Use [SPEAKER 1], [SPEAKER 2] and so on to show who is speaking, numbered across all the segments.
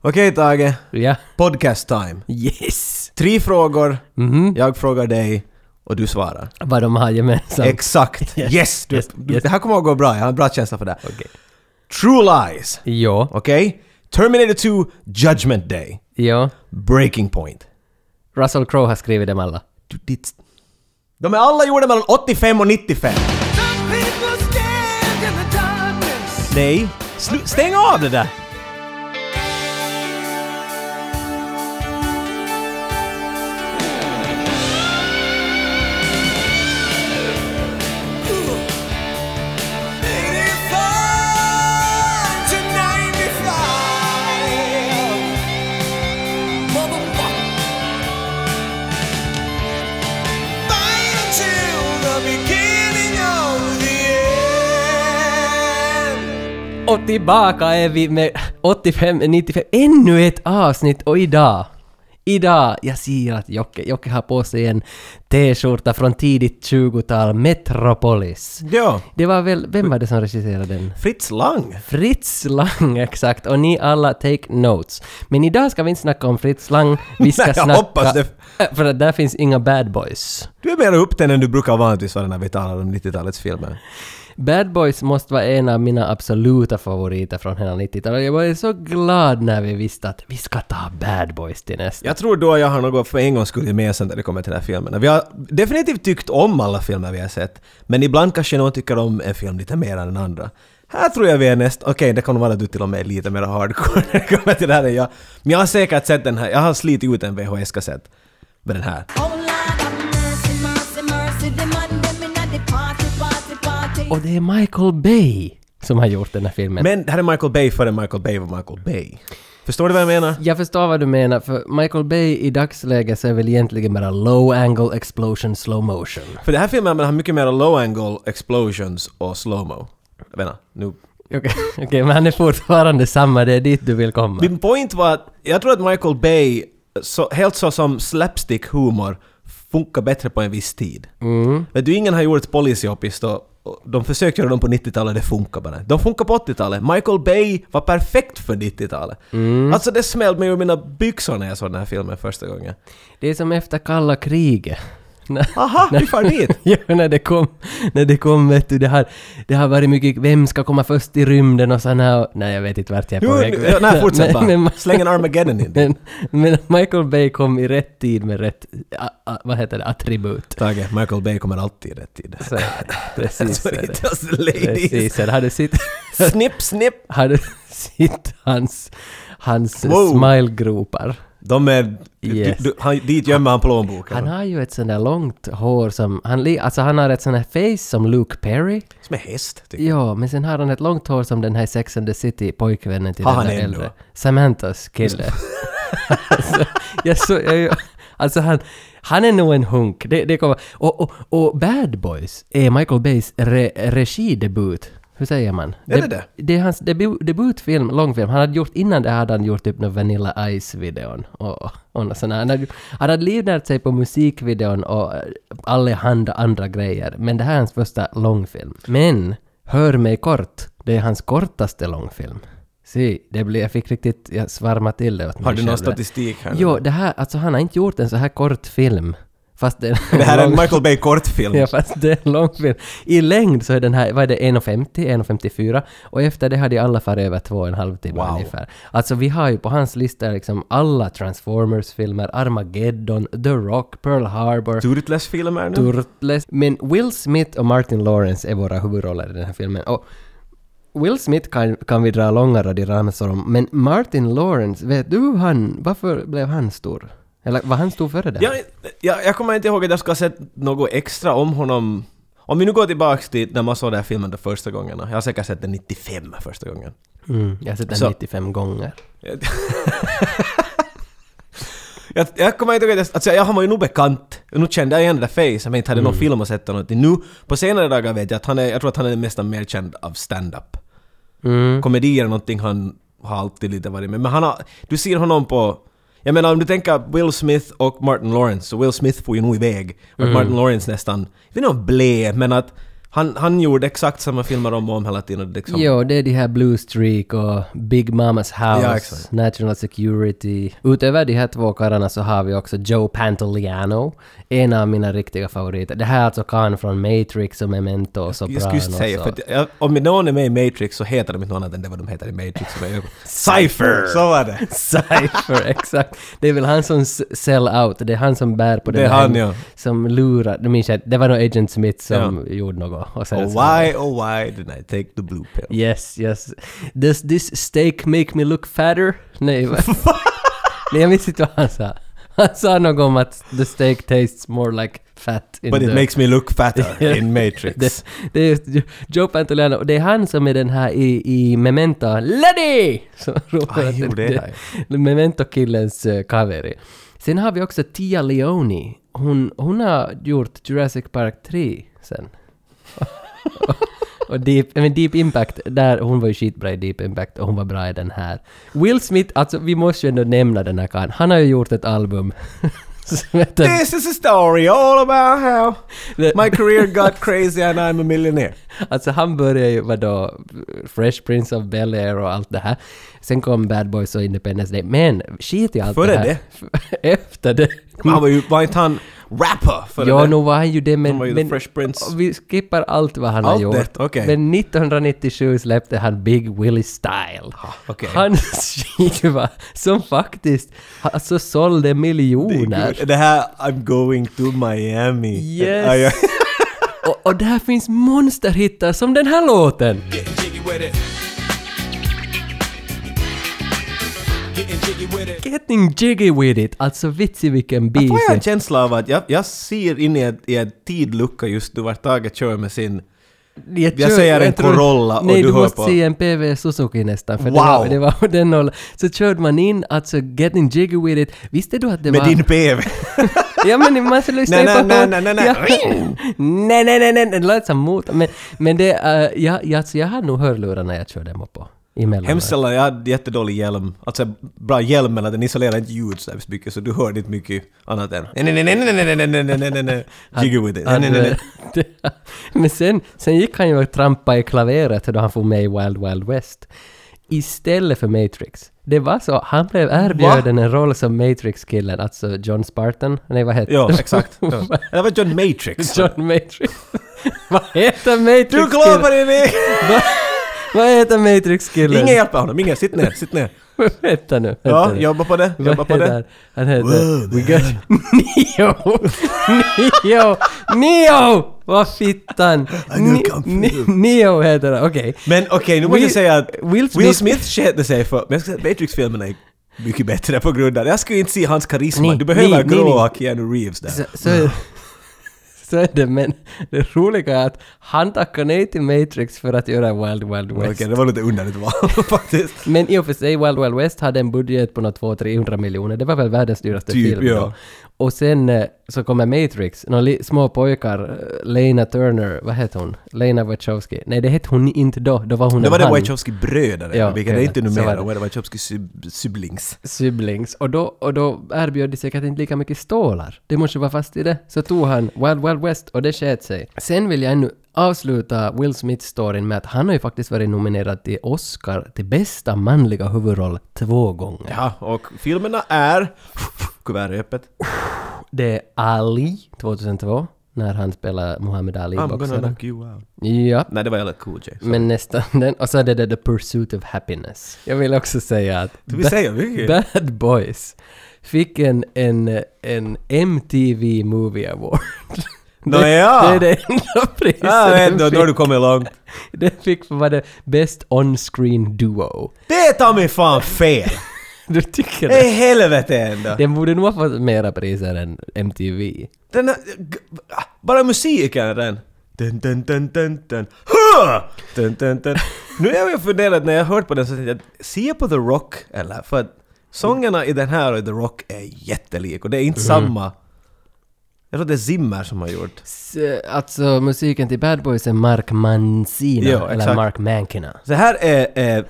[SPEAKER 1] Okej Tage,
[SPEAKER 2] Ja.
[SPEAKER 1] podcast time.
[SPEAKER 2] Yes!
[SPEAKER 1] Tre frågor,
[SPEAKER 2] Mhm.
[SPEAKER 1] jag frågar dig och du svarar.
[SPEAKER 2] Vad de har gemensamt.
[SPEAKER 1] Exakt! Yes!
[SPEAKER 2] Yes.
[SPEAKER 1] du,
[SPEAKER 2] Yes.
[SPEAKER 1] Du,
[SPEAKER 2] Yes.
[SPEAKER 1] Det här kommer att gå bra, jag har en bra känsla för det. True Lies.
[SPEAKER 2] ja.
[SPEAKER 1] Okej? Terminator 2, Judgment Day.
[SPEAKER 2] Ja.
[SPEAKER 1] Breaking Point.
[SPEAKER 2] Russell Crowe har skrivit dem alla.
[SPEAKER 1] Du, ditt... De är alla gjorda mellan 85 och 95.
[SPEAKER 3] Some people stand in the darkness.
[SPEAKER 1] Nej, slu- stäng av det där!
[SPEAKER 3] Beginning of the end.
[SPEAKER 2] Och tillbaka är vi med 85, 95, ännu ett avsnitt och idag. Idag, jag ser att Jocke, Jocke har på sig en t-skjorta från tidigt 20-tal, Metropolis.
[SPEAKER 1] Ja.
[SPEAKER 2] Det var väl, vem var det som regisserade den?
[SPEAKER 1] Fritz Lang.
[SPEAKER 2] Fritz Lang, exakt. Och ni alla take notes. Men idag ska vi inte snacka om Fritz Lang. Vi ska
[SPEAKER 1] Nej, jag
[SPEAKER 2] snacka...
[SPEAKER 1] hoppas det.
[SPEAKER 2] Äh, För att där finns inga bad boys.
[SPEAKER 1] Du är mer upptänd än du brukar vanligtvis vara när vi talar om 90-talets filmer.
[SPEAKER 2] Bad Boys måste vara en av mina absoluta favoriter från hela 90-talet. Jag var så glad när vi visste att vi ska ta Bad Boys till nästa.
[SPEAKER 1] Jag tror då jag har något för en gångs skull gemensamt när det kommer till den här filmen. Vi har definitivt tyckt om alla filmer vi har sett, men ibland kanske någon tycker om en film lite mer än den andra. Här tror jag vi är näst... Okej, det kan nog vara att du till och med är lite mer hardcore när det kommer till det här än jag. Men jag har säkert sett den här, jag har slitit ut en VHS-kassett med den här.
[SPEAKER 4] Oh Lord, have mercy, mercy, mercy. The man them inna the party, party, party.
[SPEAKER 2] Och det är Michael Bay som har gjort den här filmen.
[SPEAKER 1] Men det här är Michael Bay före Michael Bay var Michael Bay. Förstår du vad jag menar?
[SPEAKER 2] Jag förstår vad du menar, för Michael Bay i dagsläget så är väl egentligen bara low angle explosion slow motion.
[SPEAKER 1] För den här filmen har mycket mer low angle explosions och slow-mo. Jag menar, nu
[SPEAKER 2] Okej, okej, men han är fortfarande samma, det är dit du vill komma.
[SPEAKER 1] Min point var att jag tror att Michael Bay, så, helt så som slapstick-humor, funkar bättre på en viss tid. Mm. Vet du, ingen har gjort policyopis då. och De försökte göra dem på 90-talet, det funkar bara. De funkar på 80-talet. Michael Bay var perfekt för 90-talet.
[SPEAKER 2] Mm.
[SPEAKER 1] Alltså det smällde mig ur mina byxor när jag såg den här filmen första gången.
[SPEAKER 2] Det är som efter kalla kriget. När-
[SPEAKER 1] Aha, vi far dit!
[SPEAKER 2] ja, när det kom, när det kom vet du, det har, det har varit mycket vem ska komma först i rymden och sådana här... Nej, jag vet inte vart jag är
[SPEAKER 1] Jo,
[SPEAKER 2] på
[SPEAKER 1] nu- ja, nej, fortsätt bara.
[SPEAKER 2] men,
[SPEAKER 1] Släng en Armageddon in
[SPEAKER 2] men, men Michael Bay kom i rätt tid med rätt, a, a, vad heter det, attribut.
[SPEAKER 1] Tage, Michael Bay kommer alltid i rätt tid.
[SPEAKER 2] Så, är det. precis så är
[SPEAKER 1] Sorry,
[SPEAKER 2] det.
[SPEAKER 1] just ladies.
[SPEAKER 2] Precis, så är det. har du sett,
[SPEAKER 1] Snipp, snipp!
[SPEAKER 2] har du sett hans, hans
[SPEAKER 1] Wow.
[SPEAKER 2] smilegropar?
[SPEAKER 1] De är...
[SPEAKER 2] Yes.
[SPEAKER 1] Du, du, han, dit gömmer han plånboken.
[SPEAKER 2] Han har ju ett sånt där långt hår som... Han, li- alltså han har ett sånt där face som Luke Perry.
[SPEAKER 1] Som en häst, typ. tycker jag.
[SPEAKER 2] Ja, men sen har han ett långt hår som den här Sex and the City pojkvännen till
[SPEAKER 1] Har
[SPEAKER 2] den
[SPEAKER 1] han
[SPEAKER 2] där
[SPEAKER 1] ännu?
[SPEAKER 2] äldre. Samanthas kille. alltså, jag så, jag, jag, alltså han, han är nog en hunk. Det, det kommer, och, och, och Bad Boys är Michael Bays re, regidebut. Hur säger man?
[SPEAKER 1] Är det det?
[SPEAKER 2] Det är hans debu, debutfilm, långfilm. Han hade gjort, innan det hade han gjort typ någon Vanilla Ice-videon och, och något sånt här. Han hade, han hade livnärt sig på musikvideon och eh, allehanda andra grejer. Men det här är hans första långfilm. Men, Hör mig kort, det är hans kortaste långfilm. Se, det blir, jag fick riktigt, jag svarmade till det åt mig
[SPEAKER 1] Har du någon
[SPEAKER 2] själv.
[SPEAKER 1] statistik här? nu?
[SPEAKER 2] Jo, det här, alltså han har inte gjort en så här kort film. Fast det,
[SPEAKER 1] Det här är en Michael Bay kortfilm.
[SPEAKER 2] Ja, fast det är en lång film. I längd så är den här, vad är det, 1.50, 1.54 och efter det hade alla farit över två och en halv timme
[SPEAKER 1] Wow.
[SPEAKER 2] ungefär. Alltså vi har ju på hans lista liksom alla Transformers-filmer, Armageddon, The Rock, Pearl Harbor,
[SPEAKER 1] Turtles-filmer nu?
[SPEAKER 2] Turtles. Men Will Smith och Martin Lawrence är våra huvudroller i den här filmen. Och Will Smith kan, kan vi dra långa radioramsor om, men Martin Lawrence, vet du hur han, varför blev han stor? Eller var han stor före det? här?
[SPEAKER 1] Jag, jag, jag kommer inte ihåg att jag ska ha sett något extra om honom. Om vi nu går tillbaks till när man såg den här filmen den första gången. Jag har säkert sett den 95 första gången.
[SPEAKER 2] Mm, jag har sett den
[SPEAKER 1] Så-
[SPEAKER 2] 95 gånger.
[SPEAKER 1] Jag, jag kommer inte ihåg att jag... Alltså jag han var ju nog bekant. Nu kände jag igen det där face, men inte hade någon film att sätta någonting. Nu, på senare dagar vet jag att han är... Jag tror att han är nästan mer känd av stand-up.
[SPEAKER 2] Mm.
[SPEAKER 1] komedier är någonting han har alltid lite varit med. Men han har, du ser honom på... Jag menar om du tänker Will Smith och Martin Lawrence, så Will Smith får ju nog iväg. Och Martin Lawrence nästan, jag vet inte om blä, men att Han, han gjorde exakt samma filmer om och om hela tiden. Liksom.
[SPEAKER 2] Jo, det är de här Blue Streak och Big Mamas
[SPEAKER 1] Ja,
[SPEAKER 2] House,
[SPEAKER 1] exakt.
[SPEAKER 2] National Security. Utöver de här två karlarna så har vi också Joe Pantoliano, en av mina riktiga favoriter. Det här är alltså karln från Matrix och Memento och
[SPEAKER 1] Jag skulle just
[SPEAKER 2] Sopranos.
[SPEAKER 1] säga,
[SPEAKER 2] och-
[SPEAKER 1] för att jag, om någon är med i Matrix så heter de inte något annat än det vad de heter i Matrix. Som är Cypher! Så var det!
[SPEAKER 2] Cypher, exakt. Det är väl han som s- sell out, det är han som bär på
[SPEAKER 1] Det
[SPEAKER 2] den
[SPEAKER 1] är
[SPEAKER 2] här-
[SPEAKER 1] han, ja.
[SPEAKER 2] Som lurar, nu minns jag, det var nog Agent Smith som gjorde något. Och sen
[SPEAKER 1] Oh
[SPEAKER 2] så-
[SPEAKER 1] why, oh why did I take the blue pill?
[SPEAKER 2] Yes, yes. Does this steak make me look fatter? Nej, va? Nej jag minns inte vad han sa. Han sa något om att the steak tastes more like fat in
[SPEAKER 1] But
[SPEAKER 2] the...
[SPEAKER 1] it makes me look fatter in
[SPEAKER 2] det,
[SPEAKER 1] Matrix.
[SPEAKER 2] det är just Jo- Joe Pantoliano, och det är han som är den här i, i Memento, Lady! Som ropar
[SPEAKER 1] Ah,
[SPEAKER 2] att
[SPEAKER 1] jo, det är han,
[SPEAKER 2] Memento-killens uh, cover. Sen har vi också Tia Leoni. Hon, hon har gjort Jurassic Park 3 sen. Och Deep, men Deep Impact, där, hon var ju skitbra i Deep Impact och hon var bra i den här. Will Smith, alltså vi måste ju ändå nämna den här karln. Han har ju gjort ett album som heter...
[SPEAKER 1] This is a story all about how
[SPEAKER 2] The-
[SPEAKER 1] my career got crazy and I'm a millionaire.
[SPEAKER 2] Alltså han började ju vadå, Fresh Prince of Bel-Air och allt det här. Sen kom Bad Boys och Independence Day. Men skit i allt
[SPEAKER 1] Före
[SPEAKER 2] det här. Efter det.
[SPEAKER 1] Men Han var ju, var inte han rapper för
[SPEAKER 2] Ja,
[SPEAKER 1] det?
[SPEAKER 2] Mm. nog var han ju det men...
[SPEAKER 1] Han var ju
[SPEAKER 2] men
[SPEAKER 1] The Fresh Prince.
[SPEAKER 2] och Vi skippar allt vad han har
[SPEAKER 1] Allt
[SPEAKER 2] gjort.
[SPEAKER 1] det, okej.
[SPEAKER 2] Men 1997 släppte han Big Willie Style.
[SPEAKER 1] okej.
[SPEAKER 2] Hans skiva som faktiskt alltså sålde miljoner.
[SPEAKER 1] Det här I'm going to Miami.
[SPEAKER 2] Yes.
[SPEAKER 1] Ja, ja.
[SPEAKER 2] och, och där finns monsterhittar som den här låten.
[SPEAKER 5] Getting jiggy with it. Getting jiggy with it.
[SPEAKER 2] Getting jiggy with it. Alltså vitsi vilken beat.
[SPEAKER 1] Får jag en känsla av att jag, jag ser in i en, i en tidlucka just nu vart Tage kör med sin...
[SPEAKER 2] Jag,
[SPEAKER 1] Jag
[SPEAKER 2] tror-
[SPEAKER 1] säger en
[SPEAKER 2] tror-
[SPEAKER 1] Corolla och
[SPEAKER 2] Nej,
[SPEAKER 1] du
[SPEAKER 2] du
[SPEAKER 1] hör
[SPEAKER 2] måste
[SPEAKER 1] på.
[SPEAKER 2] se en PV Suzuki nästan, för
[SPEAKER 1] Wow.
[SPEAKER 2] det, var, det var den nollan. Så körde man in, alltså getting jiggy with it. Visste du att det
[SPEAKER 1] Med
[SPEAKER 2] var...
[SPEAKER 1] din PV.
[SPEAKER 2] Ja men man ska lyssna ju
[SPEAKER 1] Nej,
[SPEAKER 2] på...
[SPEAKER 1] nej, nej, nej, nej, nej.
[SPEAKER 2] Ja. Nej, nej, nej, nej, det lät som mot... Men, men det... Uh, jag, jag, alltså, jag hade nog hörlurar när jag körde dem på. Emellan.
[SPEAKER 1] Hemskt sällan, jag hade jättedålig hjälm. Alltså bra hjälm men att den isolerar inte ljud så hemskt mycket så du hör inte mycket annat än... Nej, nej, nej, nej, nej, nej, nej, nej, nej, nej, nej, nej. Jiggy with it. Nej,
[SPEAKER 2] Han-
[SPEAKER 1] nej, nej, nej.
[SPEAKER 2] men sen, sen gick han ju och trampade i klaveret då han får med i Wild Wild West. Istället för Matrix. Det var så, han blev erbjuden en roll som Matrix-killen, alltså John Spartan. Nej, vad heter
[SPEAKER 1] Ja,
[SPEAKER 2] han?
[SPEAKER 1] exakt. Ja. Det var John Matrix.
[SPEAKER 2] John Matrix. vad heter Matrix-killen?
[SPEAKER 1] Du klarar dig med!
[SPEAKER 2] Va- Vad heter Matrix-killen?
[SPEAKER 1] Ingen hjälper honom, ingen. Sitt ner, sitt ner.
[SPEAKER 2] Vänta nu. Vänta
[SPEAKER 1] Ja,
[SPEAKER 2] nu.
[SPEAKER 1] jobba på det,
[SPEAKER 2] Vad
[SPEAKER 1] jobba på
[SPEAKER 2] heter
[SPEAKER 1] det.
[SPEAKER 2] han? Han heter... We got... Neo! Neo! Neo! Vad fittan!
[SPEAKER 1] knew
[SPEAKER 2] Ni-
[SPEAKER 1] kung fu.
[SPEAKER 2] Ni- Neo heter han, okej.
[SPEAKER 1] Men okej, nu måste
[SPEAKER 2] Will-
[SPEAKER 1] jag säga att
[SPEAKER 2] Will
[SPEAKER 1] Will
[SPEAKER 2] Smith-
[SPEAKER 1] Smith, skedde sig för... Men jag ska säga att Matrix-filmerna är mycket bättre på grund av... Jag skulle inte se hans karisma.
[SPEAKER 2] Nej,
[SPEAKER 1] du behöver
[SPEAKER 2] nej, nej,
[SPEAKER 1] gråa Keanu Reeves där.
[SPEAKER 2] Så, så, så är det, men det roliga är att han tackade nej till Matrix för att göra Wild Wild
[SPEAKER 1] Okej,
[SPEAKER 2] West.
[SPEAKER 1] det var lite underligt val faktiskt.
[SPEAKER 2] Men i och för sig, Wild Wild West hade en budget på något 200-300 miljoner. Det var väl världens dyraste
[SPEAKER 1] Typ,
[SPEAKER 2] film då.
[SPEAKER 1] ja.
[SPEAKER 2] Och sen eh, så kommer Matrix. Några li- små pojkar, eh, Lena Turner, vad heter hon? Lena Wachowski. Nej, det hette hon inte då. Då var hon
[SPEAKER 1] Det
[SPEAKER 2] en
[SPEAKER 1] var det
[SPEAKER 2] han.
[SPEAKER 1] Wachowski-brödare,
[SPEAKER 2] Ja,
[SPEAKER 1] vilket det
[SPEAKER 2] okej,
[SPEAKER 1] inte
[SPEAKER 2] så var
[SPEAKER 1] numera.
[SPEAKER 2] det.
[SPEAKER 1] Det var det Wachowski sub- siblings.
[SPEAKER 2] Siblings. Och då, och då erbjöd de säkert inte lika mycket stålar. Det måste vara fast i det. Så tog han Wild Wild West och det sket sig. Sen vill jag ännu avsluta Will Smith-storyn med att han har ju faktiskt varit nominerad till Oscar till bästa manliga huvudroll två gånger.
[SPEAKER 1] Ja, och filmerna är... Kuvertet är öppet.
[SPEAKER 2] Det är Ali 2002 när han spelar Muhammad Ali i
[SPEAKER 1] I'm gonna
[SPEAKER 2] boxaren.
[SPEAKER 1] knock you out.
[SPEAKER 2] Ja,
[SPEAKER 1] Nej, det var jävla cool Jay. Så.
[SPEAKER 2] men nästan den. Och så är det där The Pursuit of Happiness. Jag vill också säga att
[SPEAKER 1] Du vill
[SPEAKER 2] Ba-
[SPEAKER 1] säga mycket?
[SPEAKER 2] Bad Boys fick en, en, en MTV Movie Award.
[SPEAKER 1] Nåja.
[SPEAKER 2] Det, det är det enda priset
[SPEAKER 1] Ja,
[SPEAKER 2] den
[SPEAKER 1] ändå, nu har du
[SPEAKER 2] fick.
[SPEAKER 1] kommit långt.
[SPEAKER 2] Den fick för vad det Best On-Screen Duo.
[SPEAKER 1] Det är ta mig fan fel!
[SPEAKER 2] Du tycker
[SPEAKER 1] I
[SPEAKER 2] det?
[SPEAKER 1] helvete ändå!
[SPEAKER 2] Den borde nog ha fått mera priser än MTV.
[SPEAKER 1] Den här, g- ah, bara musiken den. Dun, dun, dun, dun, dun. Huh! Dun, dun, dun. Nu har jag funderat när jag hört på den så tänkte jag, se på The Rock eller? För att sångerna i den här och i The Rock är jättelik och det är inte samma. Jag tror det är Zimmer som har gjort.
[SPEAKER 2] S- Alltså musiken till Bad Boys är Mark Mancina,
[SPEAKER 1] Ja,
[SPEAKER 2] eller
[SPEAKER 1] exakt.
[SPEAKER 2] Mark Mankina.
[SPEAKER 1] Så här är eh,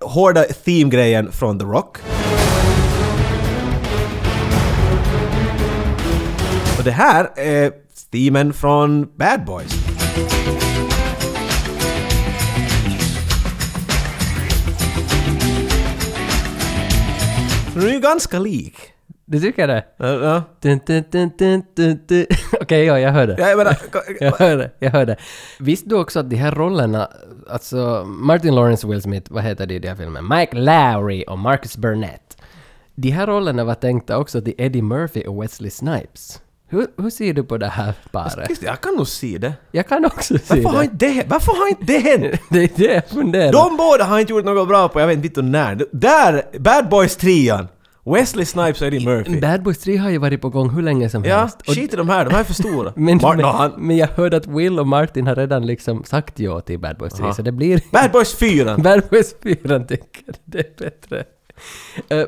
[SPEAKER 1] hårda theme-grejen från The Rock. Och det här är themen från Bad Boys. Den är ju ganska lik.
[SPEAKER 2] Du tycker det?
[SPEAKER 1] Ja, ja.
[SPEAKER 2] Dun, dun, dun, dun, dun, dun. Okej, ja, jag hör det.
[SPEAKER 1] Ja, jag menar...
[SPEAKER 2] Jag hör det, jag hör det. Visste du också att de här rollerna, alltså Martin Lawrence och Will Smith, vad heter de i den här filmen? Mike Lowry och Marcus Burnett. De här rollerna var tänkta också till Eddie Murphy och Wesley Snipes. Hur, hur ser du på det här paret?
[SPEAKER 1] Just det, Jag kan nog se det.
[SPEAKER 2] Jag kan också se
[SPEAKER 1] Varför har
[SPEAKER 2] det.
[SPEAKER 1] inte det hänt? Varför har inte det hänt?
[SPEAKER 2] Det är det jag funderar.
[SPEAKER 1] De båda har inte gjort något bra på, jag vet inte när. D- Där! Bad Boys-trian! Wesley Snipes och Eddie Murphy.
[SPEAKER 2] Bad Boys 3 har ju varit på gång hur länge som
[SPEAKER 1] ja,
[SPEAKER 2] helst. Och-
[SPEAKER 1] skit i de här, de här är för stora.
[SPEAKER 2] men,
[SPEAKER 1] Martin, och
[SPEAKER 2] men,
[SPEAKER 1] han,
[SPEAKER 2] men jag hörde att Will och Martin har redan liksom sagt ja till Bad Boys 3,
[SPEAKER 1] Aha.
[SPEAKER 2] så det blir...
[SPEAKER 1] Bad Boys 4!
[SPEAKER 2] Bad Boys 4 tycker det är bättre. Eh,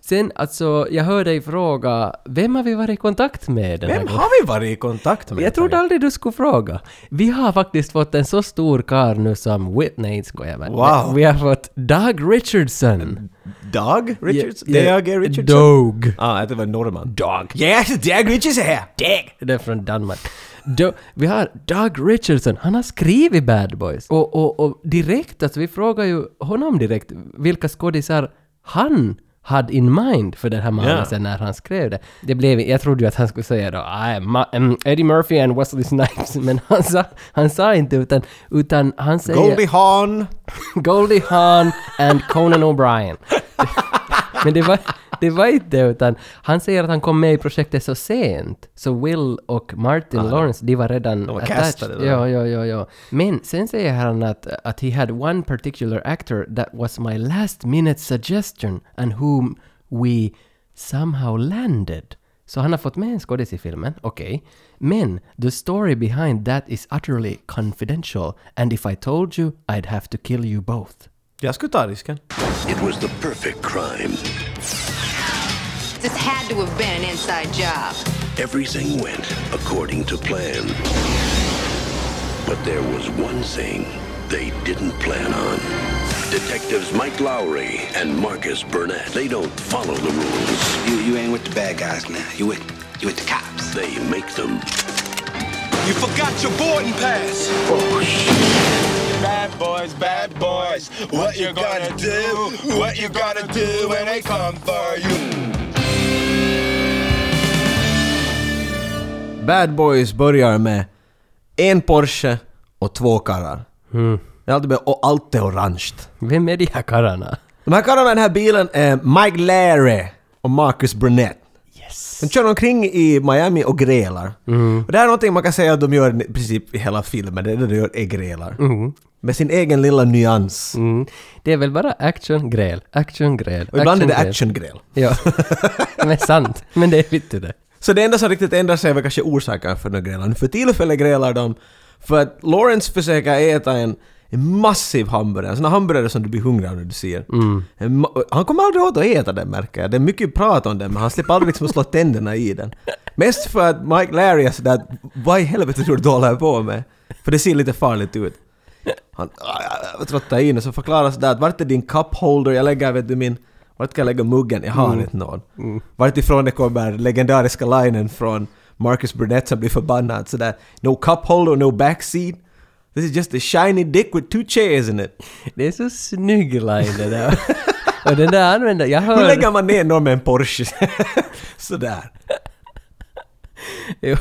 [SPEAKER 2] sen alltså, jag hörde dig fråga, vem har vi varit i kontakt med den här
[SPEAKER 1] Vem
[SPEAKER 2] gången?
[SPEAKER 1] har vi varit i kontakt med?
[SPEAKER 2] Jag trodde aldrig du skulle fråga. Vi har faktiskt fått en så stor kar nu som Whit... Nej, inte skojar jag med.
[SPEAKER 1] Wow.
[SPEAKER 2] Vi har fått Doug Richardson.
[SPEAKER 1] Dag Richardson?
[SPEAKER 2] Ja, ja,
[SPEAKER 1] Dag Richardson?
[SPEAKER 2] Doug.
[SPEAKER 1] Ah, jag tror det var norrman. Dag. Yes, Dag Richardson är här! Dag!
[SPEAKER 2] Det är från Danmark. Do, vi har Doug Richardson, han har skrivit Bad Boys. Och, och, och direkt, alltså vi frågar ju honom direkt vilka skådisar han hade in mind för den här mannen
[SPEAKER 1] Ja.
[SPEAKER 2] sen när han skrev det. det blev, jag trodde ju att han skulle säga då "Nej, Ma- em, Eddie Murphy and Wesley Snipes, men han sa, han sa inte utan, utan han säger
[SPEAKER 1] Goldie Hawn!
[SPEAKER 2] Goldie Hawn and Conan O'Brien. Men det var, det var inte det, utan han säger att han kom med i projektet så sent. Så Will och Martin Lawrence, de var redan
[SPEAKER 1] Ah, var castade
[SPEAKER 2] attached.
[SPEAKER 1] då.
[SPEAKER 2] Ja, ja, ja, ja. Men sen säger han att, att he had one particular actor that was my last minute suggestion and whom we somehow landed. Så han har fått med en skådis i filmen, okej. Men the story behind that is utterly confidential and if I told you I'd have to kill you both.
[SPEAKER 1] Jag skulle ta risken.
[SPEAKER 6] It was the perfect crime.
[SPEAKER 7] This had to have been an inside job.
[SPEAKER 6] Everything went according to plan. But there was one thing they didn't plan on. Detectives Mike Lowry and Marcus Burnett, they don't follow the rules.
[SPEAKER 8] You, you ain't with the bad guys now. You with you with the cops.
[SPEAKER 6] They make them.
[SPEAKER 5] You forgot your boarding pass. Bad boys, bad boys. What you gonna do? What you gonna do when they come for you?
[SPEAKER 1] Bad Boys börjar med en Porsche och två karlar.
[SPEAKER 2] Mm.
[SPEAKER 1] Det är alltid med- Och allt är orange.
[SPEAKER 2] Vem är de här karlarna?
[SPEAKER 1] De här karlarna i den här bilen är Mike Larry och Marcus Burnett. Yes. De kör omkring i Miami och grälar. Och det här är någonting man kan säga att de gör i princip i hela filmen. Det är det de gör är grälar. Med sin egen lilla nyans.
[SPEAKER 2] Mm. Det är väl bara actiongräl, actiongräl,
[SPEAKER 1] Och ibland är det
[SPEAKER 2] actiongräl.
[SPEAKER 1] actiongräl.
[SPEAKER 2] Ja, men sant. Men det är vittu det.
[SPEAKER 1] Så det enda som riktigt ändrar sig är väl kanske orsaken för de grälar. Nu För tillfället grälar de för att Lawrence försöker äta en en massiv hamburgare, en sån här hamburgare som du blir hungrig av när du ser. En ma- Han kommer aldrig åt att äta den märker jag. Det är mycket prat om den men han slipper aldrig liksom slå tänderna i den. Mest för att Mike Larry är sådär att, vad i helvete tror du du håller på med? För det ser lite farligt ut. Han "Ah, jag trottar in och så förklarar sådär att vart är din cup holder? Jag lägger, vet du min... Vart ska jag lägga muggen? Jag
[SPEAKER 2] Mm.
[SPEAKER 1] har inte någon. Vart ifrån det kommer legendariska linen från Marcus Burnett som blir förbannad sådär No cup holder, no backseat. This is just a shiny dick with two chairs in it.
[SPEAKER 2] Det är så snygg line det där. Och den där använder jag
[SPEAKER 1] Hur
[SPEAKER 2] hör...
[SPEAKER 1] lägger man ner någon med en Porsche? sådär.
[SPEAKER 2] Jo.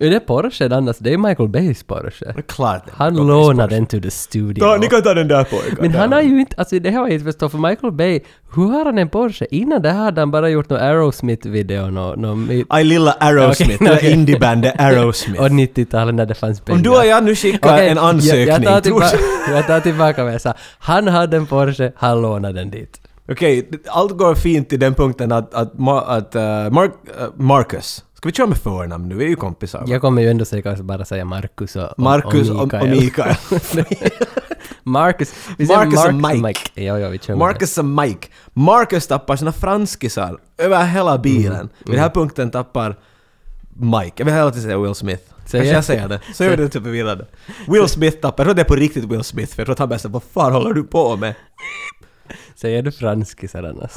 [SPEAKER 2] Är det Porsche annars? Det är Michael Bays Porsche.
[SPEAKER 1] Det är klart.
[SPEAKER 2] Han lånar den till the studio.
[SPEAKER 1] Ta, ni kan ta den där pojkar.
[SPEAKER 2] Men han
[SPEAKER 1] Där.
[SPEAKER 2] har ju inte, alltså det här var jag inte förstått för Michael Bay, hur har han en Porsche? Innan det här hade han bara gjort någon Aerosmith-video, någon... någon
[SPEAKER 1] I lilla Aerosmith,
[SPEAKER 2] Okej,
[SPEAKER 1] det
[SPEAKER 2] okej.
[SPEAKER 1] där indiebandet Aerosmith.
[SPEAKER 2] och 90-talet när det fanns pengar.
[SPEAKER 1] Om du och jag nu skickar
[SPEAKER 2] Okej,
[SPEAKER 1] Äh, en
[SPEAKER 2] jag-
[SPEAKER 1] ansökning,
[SPEAKER 2] Jag,
[SPEAKER 1] tror
[SPEAKER 2] tar tillbaka, jag tar tillbaka vad jag sa. Han hade en Porsche, han lånade den dit.
[SPEAKER 1] Okej, d- allt går fint till den punkten att, att, Ma- att eh, Mark, eh, Marcus... Ska vi köra med förnamn nu? Vi är ju kompisar. va?
[SPEAKER 2] Jag kommer ju ändå säkert bara säga Marcus och, och,
[SPEAKER 1] Marcus
[SPEAKER 2] och
[SPEAKER 1] och,
[SPEAKER 2] Mikael.
[SPEAKER 1] och Mikael.
[SPEAKER 2] Marcus. Vi säger
[SPEAKER 1] Marcus och
[SPEAKER 2] Mark-
[SPEAKER 1] Mike.
[SPEAKER 2] Ja, ja, vi kör med det.
[SPEAKER 1] Marcus och Mike. Marcus tappar sina franskisar över hela bilen. Vid den här punkten tappar Mike. Jag vill hela tiden säga Will Smith.
[SPEAKER 2] Säg
[SPEAKER 1] Kanske
[SPEAKER 2] det.
[SPEAKER 1] jag säger det. Så gör det inte förvirrande. Will Smith tappar. Jag tror det är på riktigt Will Smith, för jag tror att han börjar säga vad fan håller du på med?
[SPEAKER 2] Säger du franskisar annars?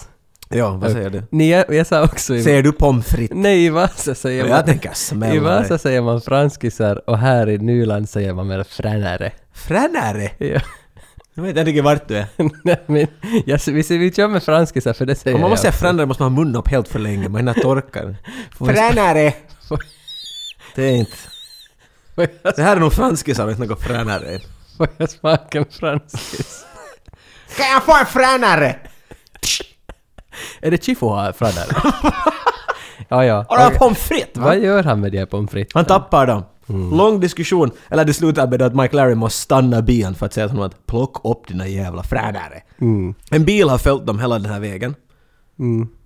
[SPEAKER 1] Ja, vad säger du?
[SPEAKER 2] alltså? Ni, jag, jag sa också i...
[SPEAKER 1] Eh, Säger du pommes frites?
[SPEAKER 2] Nej, i Vasa säger man...
[SPEAKER 1] Jag tänker smälla
[SPEAKER 2] I Vasa
[SPEAKER 1] dig.
[SPEAKER 2] säger man franskisar och här i Nyland säger man mer fränare.
[SPEAKER 1] Fränare?
[SPEAKER 2] Ja.
[SPEAKER 1] Jag vet inte riktigt vart du är.
[SPEAKER 2] Nej, men, jag, vi, ser- vi kör med franskisar för det säger
[SPEAKER 1] Om man måste
[SPEAKER 2] jag.
[SPEAKER 1] säga fränare måste man ha munnen upp helt för länge, man hinner torka den.
[SPEAKER 2] vi-
[SPEAKER 1] Fränare!
[SPEAKER 2] Får-
[SPEAKER 1] Det är inte...
[SPEAKER 2] Får jag,
[SPEAKER 1] Det här är nog franskisar, inte något fränare.
[SPEAKER 2] får jag smaka en franskis?
[SPEAKER 1] Kan jag få en fränare?
[SPEAKER 2] Är det Chifo här fränare? ja, ja.
[SPEAKER 1] Har du
[SPEAKER 2] Okej.
[SPEAKER 1] pommes frites? va? Mm.
[SPEAKER 2] Vad gör han med de här pommes frites?
[SPEAKER 1] Han tappar dem. Lång diskussion, eller det slutar med att Mike Larry måste stanna bilen för att säga till honom att plocka upp dina jävla fränare. En bil har följt dem hela den här vägen.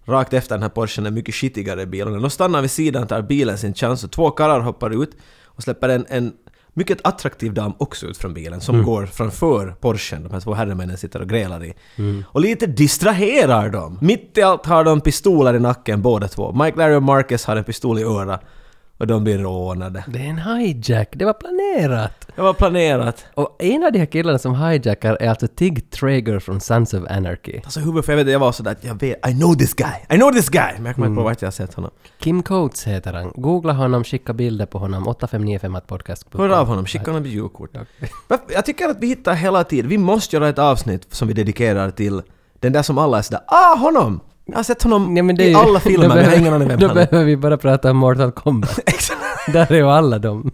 [SPEAKER 1] Rakt efter den här Porschen, en mycket skitigare bil. Och de stannar vid sidan, tar bilen sin chans och två karlar hoppar ut och släpper en, en mycket attraktiv dam också ut från bilen som går framför Porschen. De här två herremännen sitter och grälar i. Och lite distraherar dem. Mitt i allt har de pistoler i nacken båda två. Mike Larry och Marcus har en pistol i öra. Och de blir rånade.
[SPEAKER 2] Det är en hijack, det var planerat!
[SPEAKER 1] Det var planerat.
[SPEAKER 2] Och en av de här killarna som hijackar är alltså Tig Traeger från Sons of Anarchy.
[SPEAKER 1] Alltså huvudet, för jag vet jag var sådär att jag vet, I know this guy, I know this guy! Men jag kommer inte på vart jag har sett honom.
[SPEAKER 2] Kim Coates heter han. Googla honom, skicka bilder på honom. 8595 podcast.
[SPEAKER 1] Hör av honom, skicka honom julkort. Varför- Jag tycker att vi hittar hela tiden, vi måste göra ett avsnitt som vi dedikerar till den där som alla är sådär ”Ah, honom!” Jag har sett honom i alla filmer, men jag har ingen aning vem
[SPEAKER 2] Då
[SPEAKER 1] han är.
[SPEAKER 2] behöver vi bara prata om Mortal Kombat.
[SPEAKER 1] Exakt.
[SPEAKER 2] Där är ju alla dem.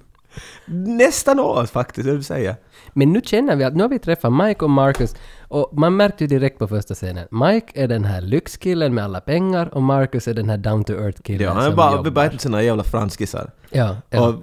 [SPEAKER 1] Nästan åt faktiskt, jag vill säga.
[SPEAKER 2] Men nu känner vi att nu har vi träffat Mike och Marcus och man märkte ju direkt på första scenen. Mike är den här lyxkillen med alla pengar och Marcus är den här down to earth killen
[SPEAKER 1] Ja, han är
[SPEAKER 2] som
[SPEAKER 1] bara
[SPEAKER 2] jobbar.
[SPEAKER 1] bebattad sina jävla franskisar.
[SPEAKER 2] Ja, ja.
[SPEAKER 1] Och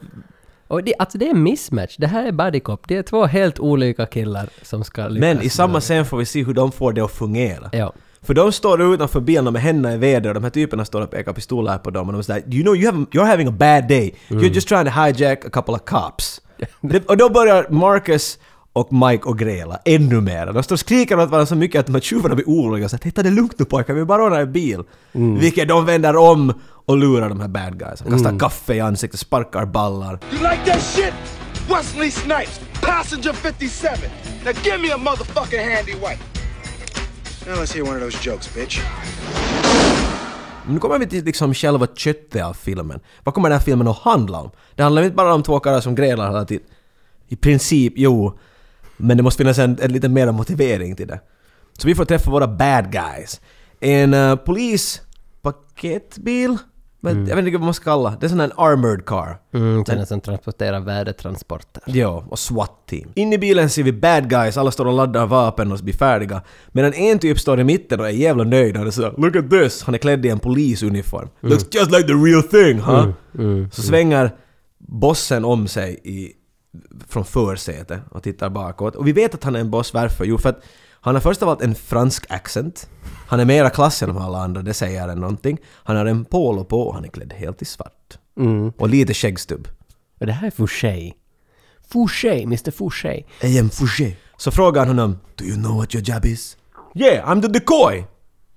[SPEAKER 2] Och det, alltså det är en mismatch. Det här är Buddy Cop. Det är två helt olika killar som ska lyckas.
[SPEAKER 1] Men i samma scen får vi se hur de får det att fungera.
[SPEAKER 2] Ja.
[SPEAKER 1] För de står utanför bilen med händerna i väder och de här typerna står och pekar pistoler på dem och de är sådär “You know you have, you're having a bad day. You're just trying to hijack a couple of cops”. Det- och då börjar Marcus och Mike och gräla ännu mer. De står och skriker åt varandra så mycket att de här tjuvarna blir oroliga. Så att “Titta det är lugnt nu pojkar, vi bara ordnar en bil”. Vilket de vänder om och lurar de här bad guys. De kastar kaffe i ansiktet, sparkar ballar.
[SPEAKER 5] You like that shit? Wesley Snipes, passenger 57. Now give me a motherfucking handy wipe. Now let's hear one of those jokes, bitch.
[SPEAKER 1] Men nu kommer vi till liksom själva köttet av filmen. Vad kommer den här filmen att handla om? Det handlar inte bara om två karlar som grälar hela tiden. I princip, jo. Men det måste finnas en, en lite mer motivering till det. Så vi får träffa våra bad guys. En uh, polispaketbil? Men Jag vet inte vad man ska kalla det. är sån här en armored car.
[SPEAKER 2] Mm, den som transporterar värdetransporter.
[SPEAKER 1] Ja, och SWAT-team. In i bilen ser vi bad guys, alla står och laddar vapen och blir färdiga. Medan en typ står i mitten och är jävla nöjd. Han är sådär “Look at this!” Han är klädd i en polisuniform. “Looks just like the real thing, huh?” Så svänger bossen om sig i, från försätet och tittar bakåt. Och vi vet att han är en boss, varför? Jo, för att han har först av allt en fransk accent. Han är mera klass än de alla andra, det säger en någonting. Han har en polo på och han är klädd helt i svart. Och lite skäggstubb.
[SPEAKER 2] Och det här är Fouché. Fouché, Mr Fouché.
[SPEAKER 1] I am Fouché. Så frågar han honom Do you know what your job is? Yeah, I'm the decoy!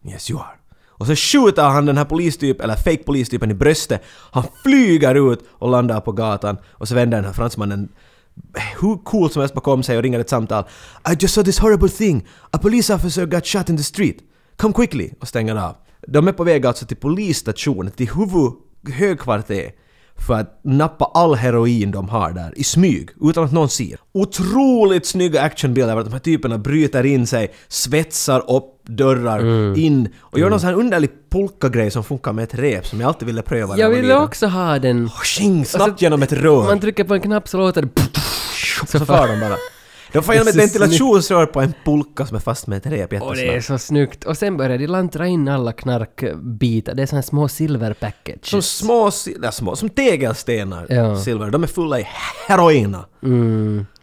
[SPEAKER 1] Yes you are. Och så skjuter han den här polistypen, eller fake polistypen i bröstet. Han flyger ut och landar på gatan. Och så vänder den här fransmannen hur cool som helst bakom sig och ringer ett samtal. I just saw this horrible thing. A police officer got shot in the street. Come quickly! Och stänger av. De är på väg alltså till polisstationen, till huvud högkvarter för att nappa all heroin de har där i smyg, utan att någon ser. Otroligt snygga actionbilder av att de här typerna bryter in sig, svetsar upp dörrar
[SPEAKER 2] Mm.
[SPEAKER 1] in och gör någon sån här underlig polkagrej som funkar med ett rep som jag alltid ville pröva. när
[SPEAKER 2] Jag
[SPEAKER 1] var
[SPEAKER 2] ville
[SPEAKER 1] liten.
[SPEAKER 2] också ha den.
[SPEAKER 1] Och Tjing, snabbt
[SPEAKER 2] Alltså,
[SPEAKER 1] genom ett rör.
[SPEAKER 2] Man trycker på en knapp så låter det...
[SPEAKER 1] så far de bara. De får genom ett
[SPEAKER 2] Det är så
[SPEAKER 1] ventilationsrör på en polka som är fast med ett rep
[SPEAKER 2] Och det är
[SPEAKER 1] jättesnabbt.
[SPEAKER 2] så snyggt. Och sen börjar de lantra in alla knarkbitar. Det är såna små silverpackage.
[SPEAKER 1] Som små, si- ja, små, som tegelstenar,
[SPEAKER 2] Ja.
[SPEAKER 1] silver. De är fulla i heroina.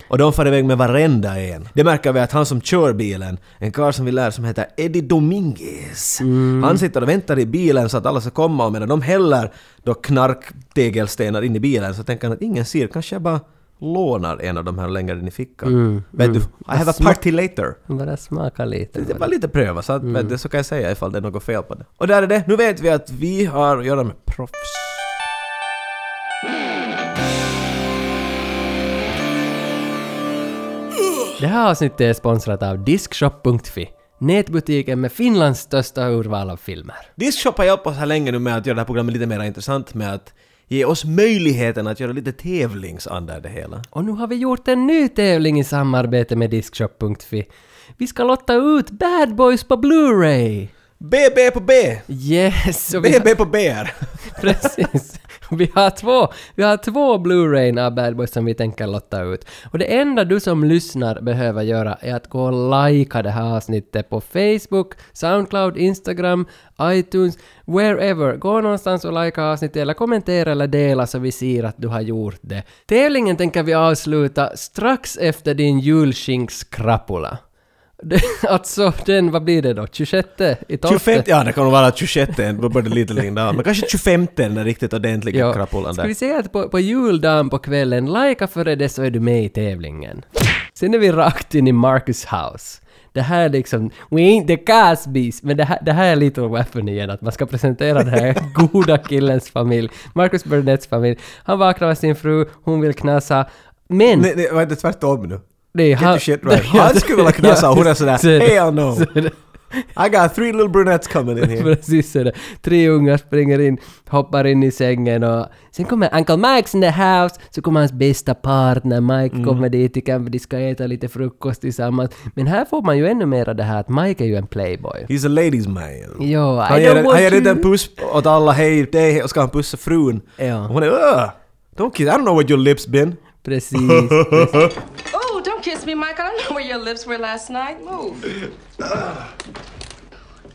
[SPEAKER 1] Och de far iväg med varenda en. Det märker vi att han som kör bilen, en karl som vi lär som heter Eddie Dominguez. Han sitter och väntar i bilen så att alla ska komma och medan de häller då knarktegelstenar in i bilen så tänker han att ingen ser, kanske jag bara lånar en av de här längre in i fickan. Vet du, I have a party later.
[SPEAKER 2] Bara smaka lite.
[SPEAKER 1] Det var lite pröva, så, att, men det, så kan jag säga ifall det är något fel på det. Och där är det. Nu vet vi att vi har att göra med proffs.
[SPEAKER 2] Det här avsnittet är sponsrat av Diskshop.fi. Nätbutiken med Finlands största urval av filmer.
[SPEAKER 1] Diskshop har hjälpt oss här länge nu med att göra det här programmet lite mer intressant med att ge oss möjligheten att göra lite tävlingsanda i det hela.
[SPEAKER 2] Och nu har vi gjort en ny tävling i samarbete med Diskshop.fi. Vi ska lotta ut Bad Boys på Blu-ray!
[SPEAKER 1] BB på B!
[SPEAKER 2] Yes! och vi har-
[SPEAKER 1] BB på BR!
[SPEAKER 2] Precis. Vi har två, vi har två Blu-ray av Bad Boys som vi tänker lotta ut. Och det enda du som lyssnar behöver göra är att gå och likea det här avsnittet på Facebook, Soundcloud, Instagram, iTunes, wherever. Gå någonstans och likea avsnittet eller kommentera eller dela så vi ser att du har gjort det. Tävlingen tänker vi avsluta strax efter din julskinkskrapula. Det- Alltså den, vad blir det då? 26 i 12?
[SPEAKER 1] 25, ja det kan nog vara 26, då börjar det lite längre av. Men kanske 25 den riktigt ordentliga
[SPEAKER 2] Ja.
[SPEAKER 1] krapulan
[SPEAKER 2] Ska vi
[SPEAKER 1] där.
[SPEAKER 2] säga att på, på juldagen på kvällen, lajka före det så är du med i tävlingen. Sen är vi rakt in i Marcus house. Det här är liksom, we ain't the Cosbys, men det här, det här är Little Weapon igen, att man ska presentera den här goda killens familj. Marcus Burnetts familj. Han vaknar med sin fru, hon vill knasa, men...
[SPEAKER 1] Nej, nej, var det tvärtom nu?
[SPEAKER 2] det är
[SPEAKER 1] Get your shit right. Han skulle vilja knasa och hon är sådär,
[SPEAKER 2] så är det.
[SPEAKER 1] hell no!
[SPEAKER 2] Så är det.
[SPEAKER 1] I got three little brunettes coming in here.
[SPEAKER 2] Precis så är det. Tre ungar springer in, hoppar in i sängen och sen kommer Uncle Mike's in the house, så kommer hans bästa partner Mike kommer dit, kan, de ska äta lite frukost tillsammans. Men här får man ju ännu mer det här att Mike är ju en playboy.
[SPEAKER 1] He's a ladies man.
[SPEAKER 2] Jo, I
[SPEAKER 1] han
[SPEAKER 2] don't
[SPEAKER 1] ger,
[SPEAKER 2] want
[SPEAKER 1] han ger
[SPEAKER 2] you-
[SPEAKER 1] inte en puss åt alla, hej dig, hej", och ska han pussa frun.
[SPEAKER 2] Ja.
[SPEAKER 1] Och Hon är öh! Don't kiss, I don't know what your lips been.
[SPEAKER 2] Precis.
[SPEAKER 9] Oh, don't kiss me, Mike. I don't know where your lips were last night. Move.
[SPEAKER 10] Uncle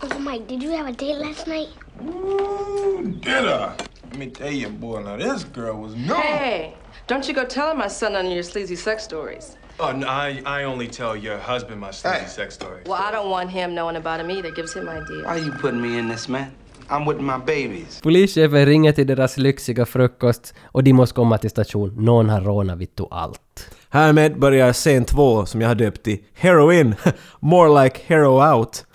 [SPEAKER 10] Oh, Mike, did you have a date last night?
[SPEAKER 5] Ooh, did I? Let me tell you, boy, now this girl was no.
[SPEAKER 9] Hey, don't you go telling my son none of your sleazy sex stories.
[SPEAKER 11] Oh, no, I, I only tell your husband my sleazy sex stories.
[SPEAKER 9] Well, I don't want him knowing about him either. Gives him
[SPEAKER 8] Why
[SPEAKER 9] ideas.
[SPEAKER 8] you putting me in this, man? I'm with my babies.
[SPEAKER 2] Polischefen ringer till deras lyxiga frukost och de måste komma till station. Någon har rånat vittu allt.
[SPEAKER 1] Härmed börjar scen två som jag har döpt till Heroin, more like hero out.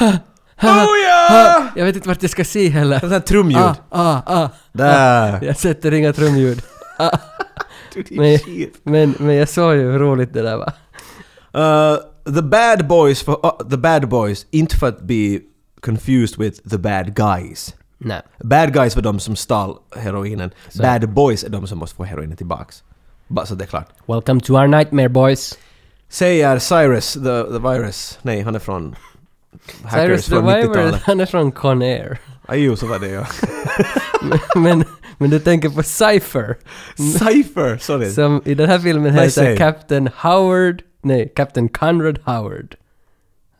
[SPEAKER 2] Oh, Ah, Jag vet inte vart jag ska se heller.
[SPEAKER 1] Sånt här trumljud.
[SPEAKER 2] Ah, ah, ah.
[SPEAKER 1] Där.
[SPEAKER 2] Jag sätter inga trumljud. Ah.
[SPEAKER 1] Dude, det är
[SPEAKER 2] men,
[SPEAKER 1] shit.
[SPEAKER 2] men, men jag sa ju hur roligt det där var.
[SPEAKER 1] Uh, the bad boys, for, uh, the bad boys, inte för att bli confused with the bad guys.
[SPEAKER 2] Nej.
[SPEAKER 1] Bad guys var de som stal heroinen, bad boys är de som måste få heroinen tillbaks. Bara så det är klart.
[SPEAKER 2] Welcome to our nightmare boys.
[SPEAKER 1] Säger Cyrus, the, the virus, nej han är från... Hackers
[SPEAKER 2] Cyrus the
[SPEAKER 1] från
[SPEAKER 2] Wyvern,
[SPEAKER 1] 90-talet.
[SPEAKER 2] han är från Conair.
[SPEAKER 1] Ah, jo, så var det ja.
[SPEAKER 2] men, men du tänker på Cypher,
[SPEAKER 1] Cypher, sorry.
[SPEAKER 2] som i den här filmen
[SPEAKER 1] Vad
[SPEAKER 2] heter
[SPEAKER 1] säger?
[SPEAKER 2] Captain Howard, nej, Captain Conrad Howard.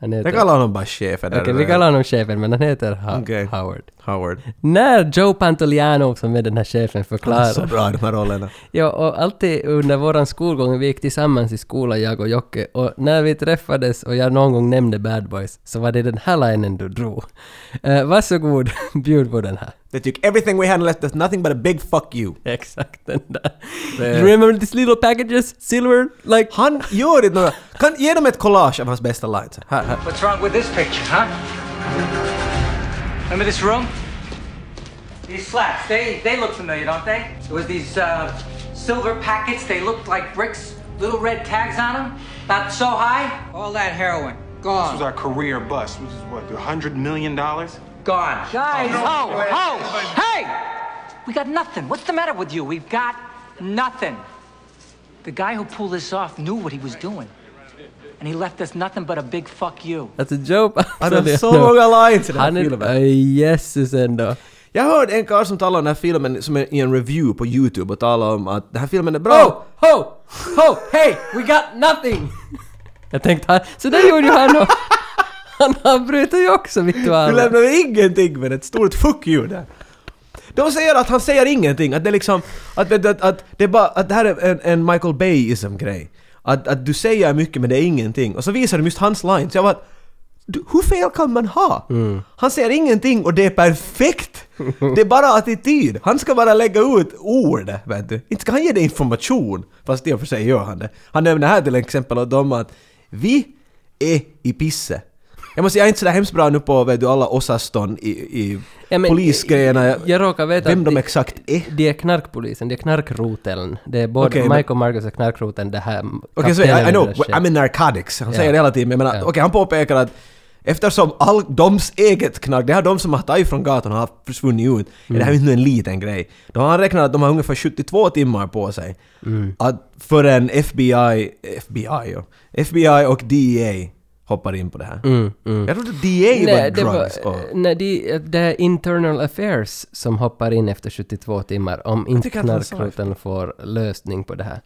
[SPEAKER 2] Han heter...
[SPEAKER 1] jag kallar honom bara chefen.
[SPEAKER 2] Okej,
[SPEAKER 1] där,
[SPEAKER 2] vi
[SPEAKER 1] eller?
[SPEAKER 2] kallar honom chefen, men han heter ha-
[SPEAKER 1] Okej.
[SPEAKER 2] Howard.
[SPEAKER 1] Howard.
[SPEAKER 2] När Joe Pantoliano, som är den här chefen,
[SPEAKER 1] Han är så
[SPEAKER 2] förklarar
[SPEAKER 1] bra i de här rollerna.
[SPEAKER 2] Ja, och alltid under våran skolgång, vi gick tillsammans i skolan, jag och Jocke, och när vi träffades och jag någon gång nämnde Bad Boys, så var det den här linen du drog. Uh, varsågod, bjud på den här.
[SPEAKER 1] They took everything we had and left us nothing but a big fuck you.
[SPEAKER 2] Exakt den där.
[SPEAKER 1] Det-
[SPEAKER 2] You remember these little packages? Silver? Like...
[SPEAKER 1] Han gör inte några... Kan ge dem ett collage av hans bästa lines. Här, här.
[SPEAKER 11] What's wrong with this picture, huh? Remember this room?
[SPEAKER 3] These slats, they, they look familiar, don't they? It was these uh, silver packets, they looked like bricks, little red tags on them, not so high. All that heroin,
[SPEAKER 5] This was
[SPEAKER 3] gone,
[SPEAKER 5] our career bust, which is what, a hundred million dollars?
[SPEAKER 3] gone. Guys, oh, oh, hey! We got nothing. What's the matter with you? We've got nothing. The guy who pulled this off knew what he was doing, and he left us nothing but a big fuck you.
[SPEAKER 2] Alltså Joe
[SPEAKER 1] Han har
[SPEAKER 2] Pantoliano.
[SPEAKER 1] så många lines i den
[SPEAKER 2] Han
[SPEAKER 1] här
[SPEAKER 2] är...
[SPEAKER 1] filmen.
[SPEAKER 2] Aj, Jesus ändå.
[SPEAKER 1] Jag hörde en karl som talade om den här filmen som är i en review på YouTube och talade om att den här filmen är
[SPEAKER 2] Ho!
[SPEAKER 1] bra.
[SPEAKER 2] Ho! Ho! Hey! We got nothing! Jag tänkte han... Så där gjorde ju han och... Han avbryter ju också
[SPEAKER 1] Du
[SPEAKER 2] ritualen.
[SPEAKER 1] lämnade ingenting men ett stort fuck you där. De säger att han säger ingenting, att det liksom... Att, att, att, att det är bara... Att det här är en, en Michael Bay-ism-grej. Att, att du säger mycket men det är ingenting. Och så visar de just hans lines. Jag bara... Du, hur fel kan man ha?
[SPEAKER 2] Mm.
[SPEAKER 1] Han säger ingenting och det är perfekt! Det är bara attityd. Han ska bara lägga ut ord, vet du. Inte ska han ge dig information. Fast i och för sig gör han det. Han nämner här till exempel åt dem att vi är i pisse. Jag måste säga, jag är inte sådär hemskt bra nu på vet du, alla osaston i, i
[SPEAKER 2] Ja, men-
[SPEAKER 1] polisgrejerna. Jag,
[SPEAKER 2] Jag råkar veta
[SPEAKER 1] vem
[SPEAKER 2] att
[SPEAKER 1] de
[SPEAKER 2] det-
[SPEAKER 1] exakt är. Okej,
[SPEAKER 2] Det är knarkpolisen, det är knarkroteln. Det är både
[SPEAKER 1] Okej, men-
[SPEAKER 2] Mike och Marcus och knarkroteln, det här...
[SPEAKER 1] så
[SPEAKER 2] kaptenen
[SPEAKER 1] I, I
[SPEAKER 2] och
[SPEAKER 1] know,
[SPEAKER 2] deras chef.
[SPEAKER 1] I'm in narcotics. Han
[SPEAKER 2] Ja.
[SPEAKER 1] säger det hela tiden, men jag menar,
[SPEAKER 2] Ja.
[SPEAKER 1] okej, han påpekar att Eftersom all, doms eget knark, det här de som har tagit från gatan och har försvunnit
[SPEAKER 2] Mm.
[SPEAKER 1] ut, är det här inte en liten grej. Då har han räknat att de har ungefär 72 timmar på sig
[SPEAKER 2] Mm.
[SPEAKER 1] att förrän FBI, FBI, ja, FBI och DEA hoppar in på det här.
[SPEAKER 2] Mm, mm.
[SPEAKER 1] Jag trodde DEA var
[SPEAKER 2] det
[SPEAKER 1] drugs.
[SPEAKER 2] var-
[SPEAKER 1] och,
[SPEAKER 2] nej, det, det är internal affairs som hoppar in efter 72 timmar om inte
[SPEAKER 1] tycker att han sa
[SPEAKER 2] knarkroteln får lösning på det här.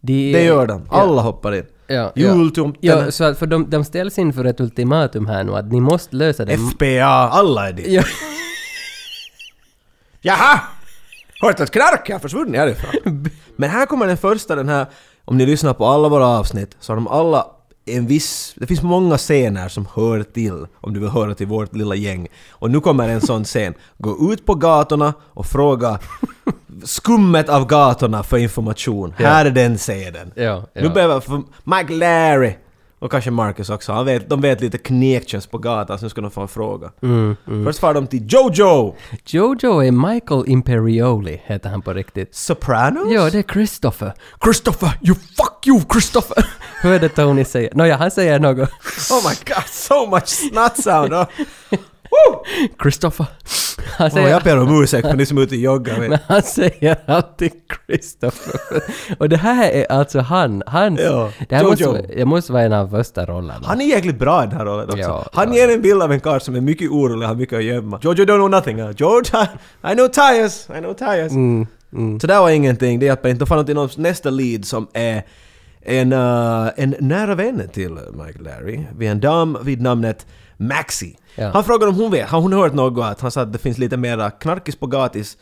[SPEAKER 1] det gör de. Alla hoppar in.
[SPEAKER 2] Ja, ja.
[SPEAKER 1] Jultomten.
[SPEAKER 2] ja, så att för de, de ställs inför ett ultimatum här nu att ni måste lösa det.
[SPEAKER 1] FPA, alla är dit.
[SPEAKER 2] Ja,
[SPEAKER 1] Jaha! Hört att knark har försvunnit härifrån. Men här kommer den första, den här... Om ni lyssnar på alla våra avsnitt så har de alla en viss... Det finns många scener som hör till, om du vill höra till vårt lilla gäng. Och nu kommer en sån scen. Gå ut på gatorna och fråga skummet av gatorna för information.
[SPEAKER 2] Ja.
[SPEAKER 1] Här är den scenen.
[SPEAKER 2] ja, ja.
[SPEAKER 1] Nu behöver för Mike Larry och kanske Marcus också, han vet, de vet lite knekköns på gatan så nu ska de få en fråga.
[SPEAKER 2] Mm, mm.
[SPEAKER 1] Först far de till Jojo!
[SPEAKER 2] Jojo är Michael Imperioli, heter han på riktigt.
[SPEAKER 1] Sopranos?
[SPEAKER 2] Ja, det är Christopher.
[SPEAKER 1] Christopher, you fuck you Christopher!
[SPEAKER 2] Hörde Tony säga... Nåja, han säger något.
[SPEAKER 1] Oh my god, so much snot sound! Oh.
[SPEAKER 2] Christopher. Han
[SPEAKER 1] Oh,
[SPEAKER 2] säger,
[SPEAKER 1] jag ber om ursäkt för ni som är ute och joggar.
[SPEAKER 2] men
[SPEAKER 1] vet.
[SPEAKER 2] han säger alltid Christopher. Och det här är alltså han. Hans,
[SPEAKER 1] Ja,
[SPEAKER 2] det här
[SPEAKER 1] Jojo.
[SPEAKER 2] måste, det måste vara en av första rollerna.
[SPEAKER 1] Han är jäkligt bra i den här rollen också.
[SPEAKER 2] Ja,
[SPEAKER 1] han ger en bild av en karl som är mycket orolig och har mycket att gömma. George, you don't know nothing. huh? George, I, I know tires, I know tires.
[SPEAKER 2] Mm, mm.
[SPEAKER 1] Så det var ingenting, det hjälper inte. Då fann de nästa lead som är en, eh, en nära vän till Mike Larry. Vi är en dam vid namnet Maxi.
[SPEAKER 2] Ja.
[SPEAKER 1] Han frågade om hon vet, har hon hört något? Att han sa att det finns lite mera knarkis på gatis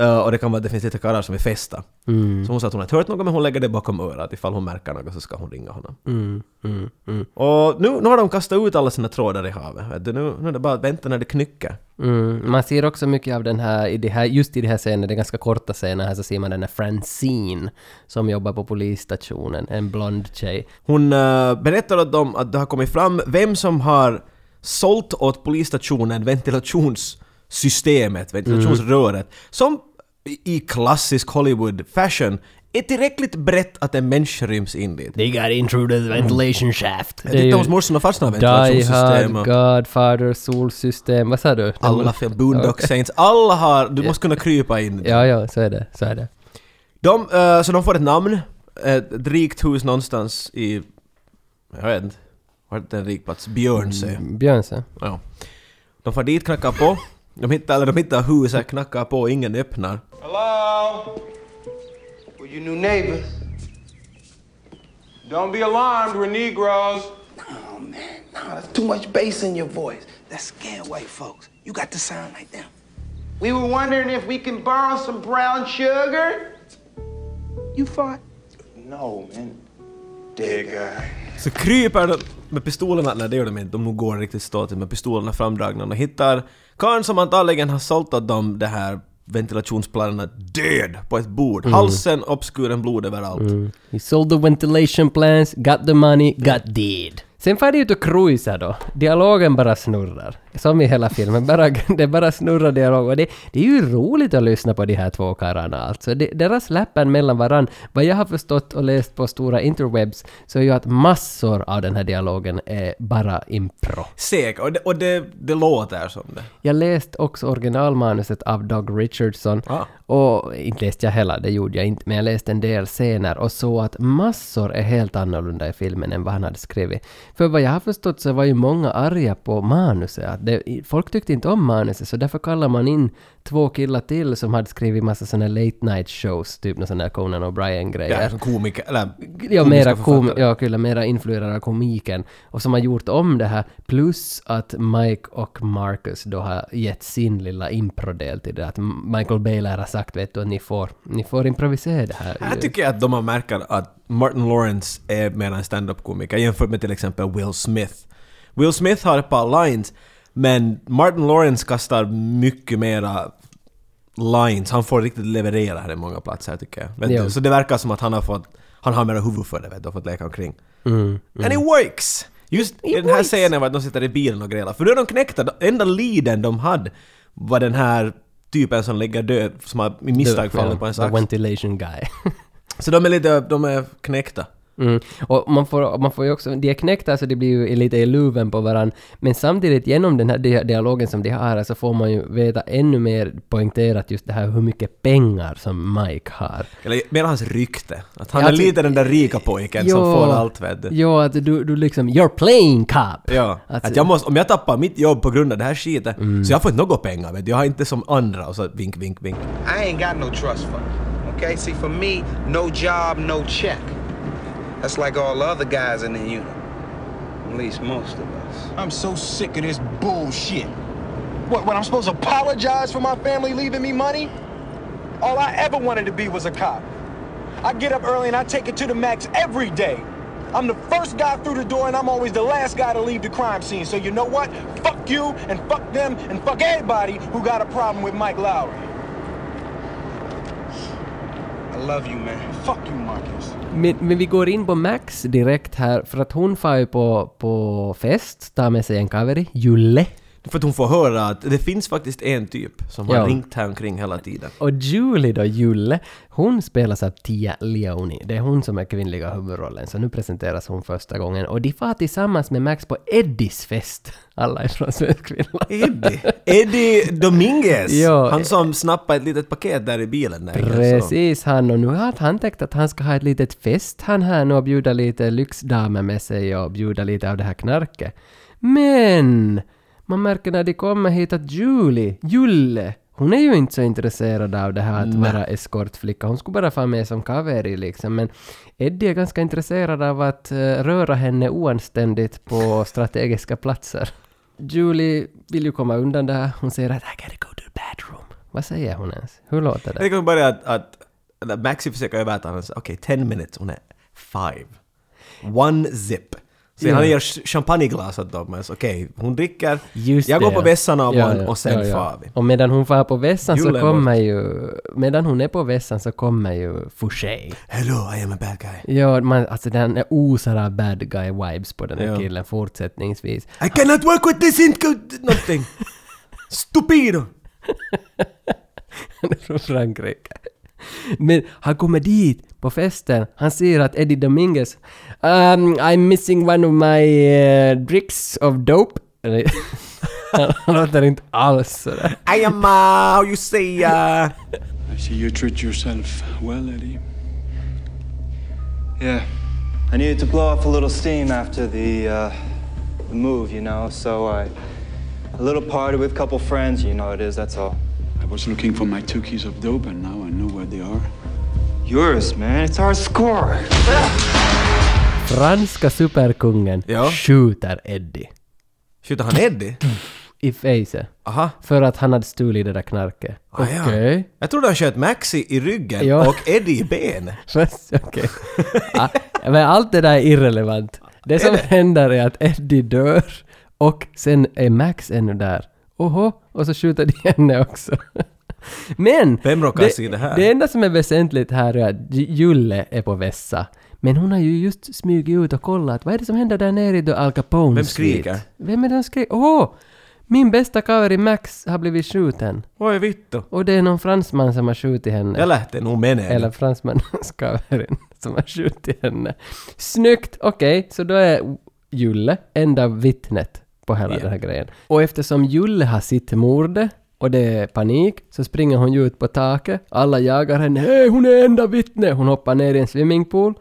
[SPEAKER 1] eh, och det kan vara att det finns lite karlar som är festa.
[SPEAKER 2] Mm.
[SPEAKER 1] Så hon sa att hon inte hört något men hon lägger det bakom örat. Ifall hon märker något så ska hon ringa honom.
[SPEAKER 2] Mm, mm, mm,
[SPEAKER 1] Och nu, nu har de kastat ut alla sina trådar i havet. vet du. Nu, nu är det bara att vänta när det knycker.
[SPEAKER 2] mm. Man ser också mycket av den här, i det här just i det här scenen, det är ganska korta scener här, så ser man den här Francine som jobbar på polisstationen, en blond tjej.
[SPEAKER 1] Hon eh, berättar att, de, att det har kommit fram vem som har sålt åt polisstationen ventilationssystemet, ventilationsröret,
[SPEAKER 2] Mm.
[SPEAKER 1] som i- i klassisk Hollywood-fashion är tillräckligt brett att en människa ryms in dit.
[SPEAKER 2] They got intruded ventilation shaft.
[SPEAKER 1] Jag tittade hos morsan och farsan har
[SPEAKER 2] Die Hard,
[SPEAKER 1] ventilationssystem och
[SPEAKER 2] Godfather, Solsystem, vad sa du?
[SPEAKER 1] alla film, Boondock Saints, alla har... Du måste kunna krypa in.
[SPEAKER 2] Ja, ja, så är det, så är det.
[SPEAKER 1] De, eh, så de får ett namn, ett rikt hus någonstans i... Jag vet inte. Var det en rik plats? Björnsö.
[SPEAKER 2] Björnsö.
[SPEAKER 1] Ja. De får dit, knackar på. De hittar, eller de hittar huset, knackar på, ingen öppnar.
[SPEAKER 5] Hello?
[SPEAKER 8] We're your new neighbors.
[SPEAKER 11] Don't be alarmed, we're Negroes.
[SPEAKER 8] Oh, man. Nah, that's too much bass in your voice. That scare white folks. You got to sound like them. We were wondering if we can borrow some brown sugar. You fought? No, man.
[SPEAKER 11] Dead guy.
[SPEAKER 1] Så kryper de med pistolerna, nej det gör de inte, de nog går riktigt statiskt med pistolerna framdragna. De hittar karln som antagligen har sålt åt dem det här ventilationsplanerna död på ett bord. Halsen uppskuren, blod överallt.
[SPEAKER 2] He sold the ventilation plans, got the money, got deed. Sen far de ut och cruisar då. Dialogen bara snurrar. Som i hela filmen. Bara, det bara snurrar dialog. Och det, det är ju roligt att lyssna på de här två karlarna alltså. De, deras läppen mellan varann. Vad jag har förstått och läst på stora interwebs så är ju att massor av den här dialogen är bara impro.
[SPEAKER 1] Sek, och, det, och det, det låter som det.
[SPEAKER 2] Jag läste också originalmanuset av Doug Richardson.
[SPEAKER 1] Ah.
[SPEAKER 2] Och inte läste jag heller, det gjorde jag inte, men jag läste en del scener och såg att massor är helt annorlunda i filmen än vad han hade skrivit. För vad jag har förstått så var ju många arga på manuset. Att det, folk tyckte inte om manuset, så därför kallar man in två killar till som hade skrivit massa såna late night shows, typ någon sån här Conan
[SPEAKER 1] Det
[SPEAKER 2] O'Brien-grejer.
[SPEAKER 1] är komiker, eller
[SPEAKER 2] Ja, mera,
[SPEAKER 1] komiska
[SPEAKER 2] kom,
[SPEAKER 1] författare.
[SPEAKER 2] ja, kyllä, mera influerad av komiken. Och som har gjort om det här. Plus att Mike och Marcus då har gett sin lilla improdel till det. Att Michael Baylor har sagt vet du, att ni får, ni får improvisera det här.
[SPEAKER 1] Här tycker jag att de har märkt att Martin Lawrence är mer en stand-up-komiker jämfört med till exempel Will Smith. Will Smith har ett par lines, men Martin Lawrence kastar mycket mera lines. Han får riktigt leverera här i många platser tycker jag. Vet
[SPEAKER 2] Ja.
[SPEAKER 1] du? Så det verkar som att han har fått, han har mera huvud för det vet du, och fått leka omkring.
[SPEAKER 2] Mm.
[SPEAKER 1] And it works! Just i den här
[SPEAKER 2] works.
[SPEAKER 1] scenen var att de sitter i bilen och grälar, för då är de knäckta. Den Enda leaden de hade var den här typen som ligger död, som har i misstag fallit på en
[SPEAKER 2] The
[SPEAKER 1] sax.
[SPEAKER 2] ventilation guy.
[SPEAKER 1] Så de är lite, de är knäckta.
[SPEAKER 2] Mm. Och man får, man får ju också, de är knäckta så de blir ju lite i luven på varandra. Men samtidigt genom den här dia- dialogen som de har så får man ju veta ännu mer poängterat just det här hur mycket pengar som Mike har.
[SPEAKER 1] Eller mer hans rykte. Att han
[SPEAKER 2] Ja, alltså, eh,
[SPEAKER 1] är
[SPEAKER 2] att-
[SPEAKER 1] lite den där rika pojken som får allt vet du.
[SPEAKER 2] Jo, att du, du liksom “You're playing cop”. Alltså,
[SPEAKER 1] Ja, att,
[SPEAKER 2] Att-
[SPEAKER 1] jag måste, om jag tappar mitt jobb på grund av det här skitet
[SPEAKER 2] Mm.
[SPEAKER 1] så jag får inte något pengar vet du. Jag har inte som andra och så vink, vink, vink.
[SPEAKER 8] I ain't got no trust fund. Okay, see, for me, no job, no check. That's like all the other guys in the unit. At least most of us.
[SPEAKER 5] I'm so sick of this bullshit. What, when I'm supposed to apologize for my family leaving me money? All I ever wanted to be was a cop. I get up early and I take it to the max every day. I'm the first guy through the door and I'm always the last guy to leave the crime scene. So you know what? Fuck you and fuck them and fuck everybody who got a problem with Mike Lowry.
[SPEAKER 8] I love you, man.
[SPEAKER 5] Fuck you, Marcus.
[SPEAKER 2] Men, men vi går in på Max direkt här, för att hon far ju på, på fest, tar med sig en kaveri, Julle.
[SPEAKER 1] För att hon får höra att det finns faktiskt en typ som har
[SPEAKER 2] Ja.
[SPEAKER 1] ringt här omkring hela tiden.
[SPEAKER 2] Och Julie då, Julle, hon spelas av Tia Leoni. Det är hon som är kvinnliga huvudrollen, så nu presenteras hon första gången. Och de far tillsammans med Max på Eddies fest. Alla är från Svensk Finland.
[SPEAKER 1] Eddie? Eddie Dominguez!
[SPEAKER 2] Ja.
[SPEAKER 1] han som snappade ett litet paket där i bilen. Där,
[SPEAKER 2] Precis han, och nu har han tänkt att han ska ha ett litet fest han här nu och bjuda lite lyxdamer med sig och bjuda lite av det här knarket. Men! Man märker när de kommer hit att Julie, Julle, hon är ju inte så intresserad av det här att vara eskortflicka. Hon skulle bara få med som kaveri liksom. Men Eddie är ganska intresserad av att eh, röra henne oanständigt på strategiska platser. Julie vill ju komma undan det här. Hon säger att I gotta go to the bathroom. Vad säger hon ens? Hur låter
[SPEAKER 1] Jag
[SPEAKER 2] det?
[SPEAKER 1] tycker bara att, att, att Maxi försöker övertala honom. så, Okej, 10 minutes. Hon är five. One zip. Sen
[SPEAKER 2] Ja.
[SPEAKER 1] han ger ch- champagneglas åt dem. men så, Okej, hon dricker.
[SPEAKER 2] Just
[SPEAKER 1] jag
[SPEAKER 2] det,
[SPEAKER 1] går på
[SPEAKER 2] ja.
[SPEAKER 1] vässan av
[SPEAKER 2] Ja,
[SPEAKER 1] hon
[SPEAKER 2] ja,
[SPEAKER 1] och sen
[SPEAKER 2] ja, ja.
[SPEAKER 1] far vi.
[SPEAKER 2] Och medan hon far på vässan så
[SPEAKER 1] Jule är
[SPEAKER 2] kommer ju... Medan hon är på vässan så kommer ju Fouché.
[SPEAKER 1] Hello, I am a bad guy.
[SPEAKER 2] Ja, man, alltså den osar av bad guy vibes på den här
[SPEAKER 1] Ja.
[SPEAKER 2] killen fortsättningsvis.
[SPEAKER 1] I cannot work with this income... Någonting. Stupido!
[SPEAKER 2] Han är från Frankrike. Men han kommer dit på festen. Han ser att Eddie Dominguez... Um, I'm missing one of my eh, bricks of dope. Eller- Han låter inte alls sådär.
[SPEAKER 1] I am, uh, how you say, uh...
[SPEAKER 12] I see you treat yourself well, Eddie.
[SPEAKER 13] Yeah. I needed to blow off a little steam after the, uh, the move, you know, so I. A little party with a couple friends, you know how it is, that's all.
[SPEAKER 12] I was looking for my two keys of dope, and now I know where they are.
[SPEAKER 13] Yours, man, it's our score.
[SPEAKER 2] Franska superkungen skjuter Eddie.
[SPEAKER 1] Skjuter han Eddie?
[SPEAKER 2] I face.
[SPEAKER 1] Aha.
[SPEAKER 2] För att han hade stulit det där knarket.
[SPEAKER 1] Ah, ja. Jag trodde han sköt Maxi i ryggen
[SPEAKER 2] Ja.
[SPEAKER 1] och Eddie i ben.
[SPEAKER 2] Fast, Okej. Ah, men allt det där är irrelevant. Det som händer är att Eddie dör och sen är Max ännu där. Oho, och så skjuter de henne också. Men!
[SPEAKER 1] Vem råkar se det här?
[SPEAKER 2] Det enda som är väsentligt här är att J- Julle är på vässa. Men hon har ju just smugit ut och kollat. Vad är det som händer där nere i då Al Capone
[SPEAKER 1] Vem skriker?
[SPEAKER 2] suite? Vem är det som skriker? Åh! Min bästa cover i Max har blivit skjuten.
[SPEAKER 1] Vad är vittu?
[SPEAKER 2] Och det är någon fransman som har skjutit henne.
[SPEAKER 1] Eller det är nog männen.
[SPEAKER 2] Eller fransmannens kaverin som har skjutit henne. Snyggt! Okej, så då är Julle enda vittnet på hela den här grejen. Och eftersom Julle har sitt mord och det är panik, så springer hon ju ut på taket. Alla jagar henne. Hej, hon är enda vittne! Hon hoppar ner i en swimmingpool.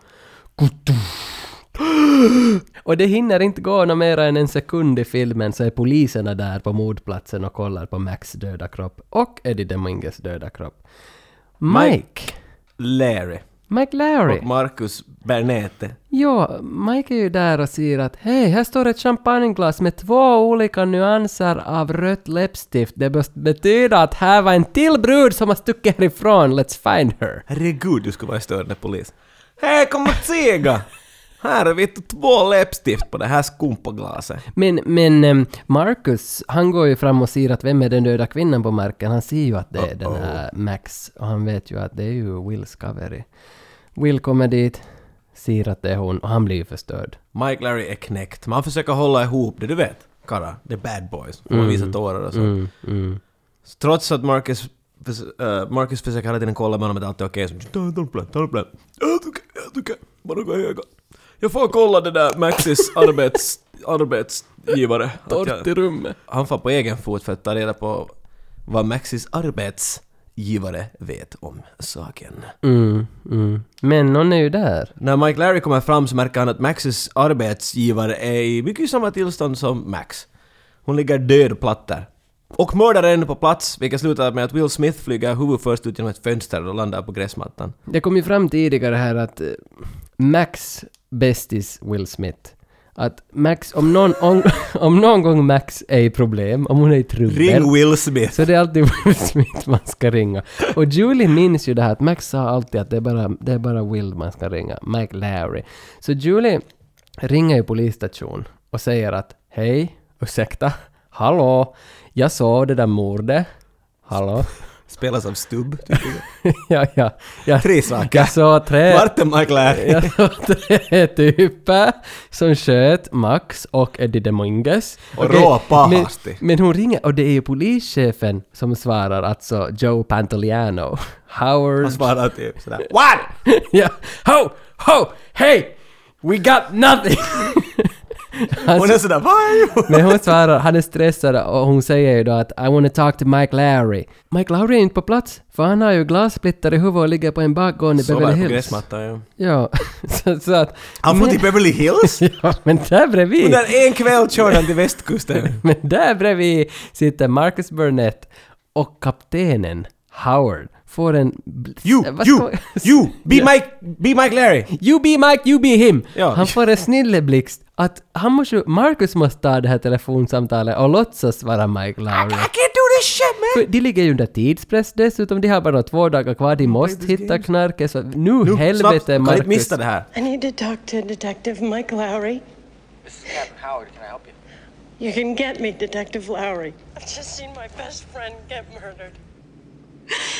[SPEAKER 2] Och det hinner inte gå något mer än en sekund i filmen så är poliserna där på mordplatsen och kollar på Max döda kropp och Eddie Dominguez döda kropp. Mike!
[SPEAKER 1] Larry.
[SPEAKER 2] Mike Larry.
[SPEAKER 1] Och Marcus Bernete.
[SPEAKER 2] Ja, Mike är ju där och säger att hej, här står ett champagneglas med två olika nyanser av rött läppstift. Det bes- betyder att här var en till brud som har stuckit härifrån. Let's find her.
[SPEAKER 1] Herregud, du skulle vara en störande polis. Hej, kom och tiga! Här är vittu två läppstift på det här skumpaglaset.
[SPEAKER 2] Men, men ehm, Marcus, han går ju fram och säger att vem är den döda kvinnan på marken? Han ser ju att det är den här Max och han vet ju att det är ju Wills Cavery. Will kommer dit, säger att det är hon och han blir ju förstörd.
[SPEAKER 1] Mike Larry är knäckt. Man försöker hålla ihop det, du vet. Kara, the bad boys. Får man
[SPEAKER 2] Mm.
[SPEAKER 1] visa tårar och så.
[SPEAKER 2] Mm, mm.
[SPEAKER 1] Så Trots att Marcus, förs- eh, Marcus försöker hela tiden kolla med honom att allt är okej. Okay. Ta en tunnplän, ta en tunnplän. Ja, du kan, ja, du kan. Bara gå i ögat. Jag får kolla det där Maxis arbets, arbetsgivare.
[SPEAKER 2] Tort i rummet.
[SPEAKER 1] Han får på egen fot för att ta reda på vad Maxis arbetsgivare vet om saken.
[SPEAKER 2] Mm, mm. Men någon är ju där.
[SPEAKER 1] När Mike Larry kommer fram så märker han att Maxis arbetsgivare är i mycket samma tillstånd som Max. Hon ligger död platt där. Och mördaren är på plats, vilket slutar med att Will Smith flyger huvudet först ut genom ett fönster och landar på gräsmattan.
[SPEAKER 2] Det kom ju fram tidigare här att eh, Max bästis Will Smith. Att Max, om någon, om, om någon gång Max är i problem, om hon är i trubbel.
[SPEAKER 1] Ring Will Smith.
[SPEAKER 2] Så det är alltid Will Smith man ska ringa. Och Julie minns ju det här att Max sa alltid att det är bara, det är bara Will man ska ringa. Mike Larry. Så Julie ringer ju polisstation och säger att hej, ursäkta, hallå, jag såg det där mordet. Hallå?
[SPEAKER 1] Spelas av Stubb. typ.
[SPEAKER 2] ja, ja, ja.
[SPEAKER 1] Tre saker.
[SPEAKER 2] Jag såg tre...
[SPEAKER 1] Vart är Mike Larry?
[SPEAKER 2] Jag såg tre typer som sköt Max och Eddie Dominguez.
[SPEAKER 1] Och
[SPEAKER 2] Okej,
[SPEAKER 1] råpa
[SPEAKER 2] men,
[SPEAKER 1] hastigt.
[SPEAKER 2] men hon ringer och det är ju polischefen som svarar, alltså Joe Pantoliano. Howard...
[SPEAKER 1] Han svarar typ sådär What?
[SPEAKER 2] ja. Ho! Ho! Hey! We got nothing! Han
[SPEAKER 1] Hon är sådär Vad är det?"
[SPEAKER 2] Men hon svarar, han är stressad och hon säger ju då att I wanna talk to Mike Lowry. Mike Lowry är inte på plats, för han har ju glassplitter i huvudet och ligger på en bakgård i
[SPEAKER 1] Sover
[SPEAKER 2] Beverly
[SPEAKER 1] på
[SPEAKER 2] Hills.
[SPEAKER 1] gräsmattan ja.
[SPEAKER 2] Ja, så, så att...
[SPEAKER 1] Han får till Beverly Hills?
[SPEAKER 2] Ja, men där bredvid...
[SPEAKER 1] Under en kväll körde han till västkusten.
[SPEAKER 2] Men där bredvid sitter Marcus Burnett och kaptenen Howard får en... bl- Eh,
[SPEAKER 1] You,
[SPEAKER 2] vad
[SPEAKER 1] you,
[SPEAKER 2] ska-
[SPEAKER 1] you, be
[SPEAKER 2] Ja.
[SPEAKER 1] Mike, be Mike Larry!
[SPEAKER 2] You be Mike, you be him!
[SPEAKER 1] Ja.
[SPEAKER 2] Han får en snilleblixt att han måste, ju- Marcus måste ta det här telefonsamtalet och låtsas vara Mike Lowry.
[SPEAKER 1] I can't do this shit man!
[SPEAKER 2] För de ligger ju under tidspress dessutom, de har bara två dagar kvar, de måste hitta knarket så nu,
[SPEAKER 1] Snabbt,
[SPEAKER 2] helvete
[SPEAKER 1] kan
[SPEAKER 2] Marcus!
[SPEAKER 1] inte missa det här.
[SPEAKER 14] I need to talk to Detective Mike Lowry.
[SPEAKER 15] This is Captain Howard. Can I help you?
[SPEAKER 14] You can get me, Detective Lowry. I've just seen my best friend get murdered.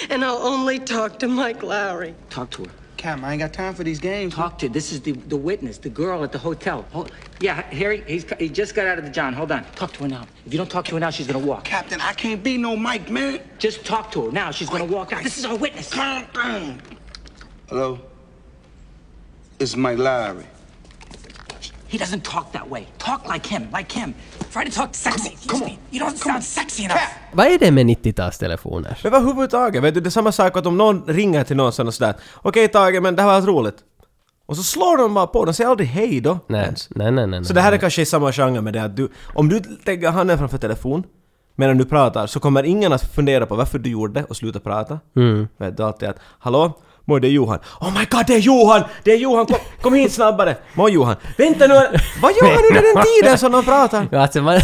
[SPEAKER 14] And I'll only talk to Mike Lowry.
[SPEAKER 3] Talk to her.
[SPEAKER 8] Cam, I ain't got time for these games.
[SPEAKER 3] Talk to. This is the, the witness, the girl at the hotel. Hold, yeah, Harry, he's, he just got out of the John. Hold on. Talk to her now. If you don't talk to her now, she's gonna walk.
[SPEAKER 8] Captain, I can't be no Mike, man.
[SPEAKER 3] Just talk to her now. She's gonna walk out. This is our witness.
[SPEAKER 8] Calm down. Hello? It's Mike Lowry.
[SPEAKER 3] He doesn't talk that way. Talk like him, like him. Try to talk sexy. Come on. You don't sound sexy enough.
[SPEAKER 2] Vad är det med 90-talstelefoner?
[SPEAKER 1] Men överhuvudtaget, vet du, det är samma sak att om någon ringer till någon sån och sådär Okej Tage, men det här var roligt. Och så slår de bara på, de säger aldrig hej då.
[SPEAKER 2] Nej, nej, nej, nej.
[SPEAKER 1] Så det här är
[SPEAKER 2] nej.
[SPEAKER 1] kanske i samma genre med det att du, om du lägger handen framför telefon medan du pratar så kommer ingen att fundera på varför du gjorde det och sluta prata.
[SPEAKER 2] Mm.
[SPEAKER 1] Vet du alltid att ”Hallå? Moj, det är Johan. Oh my god, det är Johan! Det är Johan! Kom, kom hit snabbare! Moj Johan! Vänta nu! Vad gör han under den tiden som de pratar?”
[SPEAKER 2] Ja, Alltså man...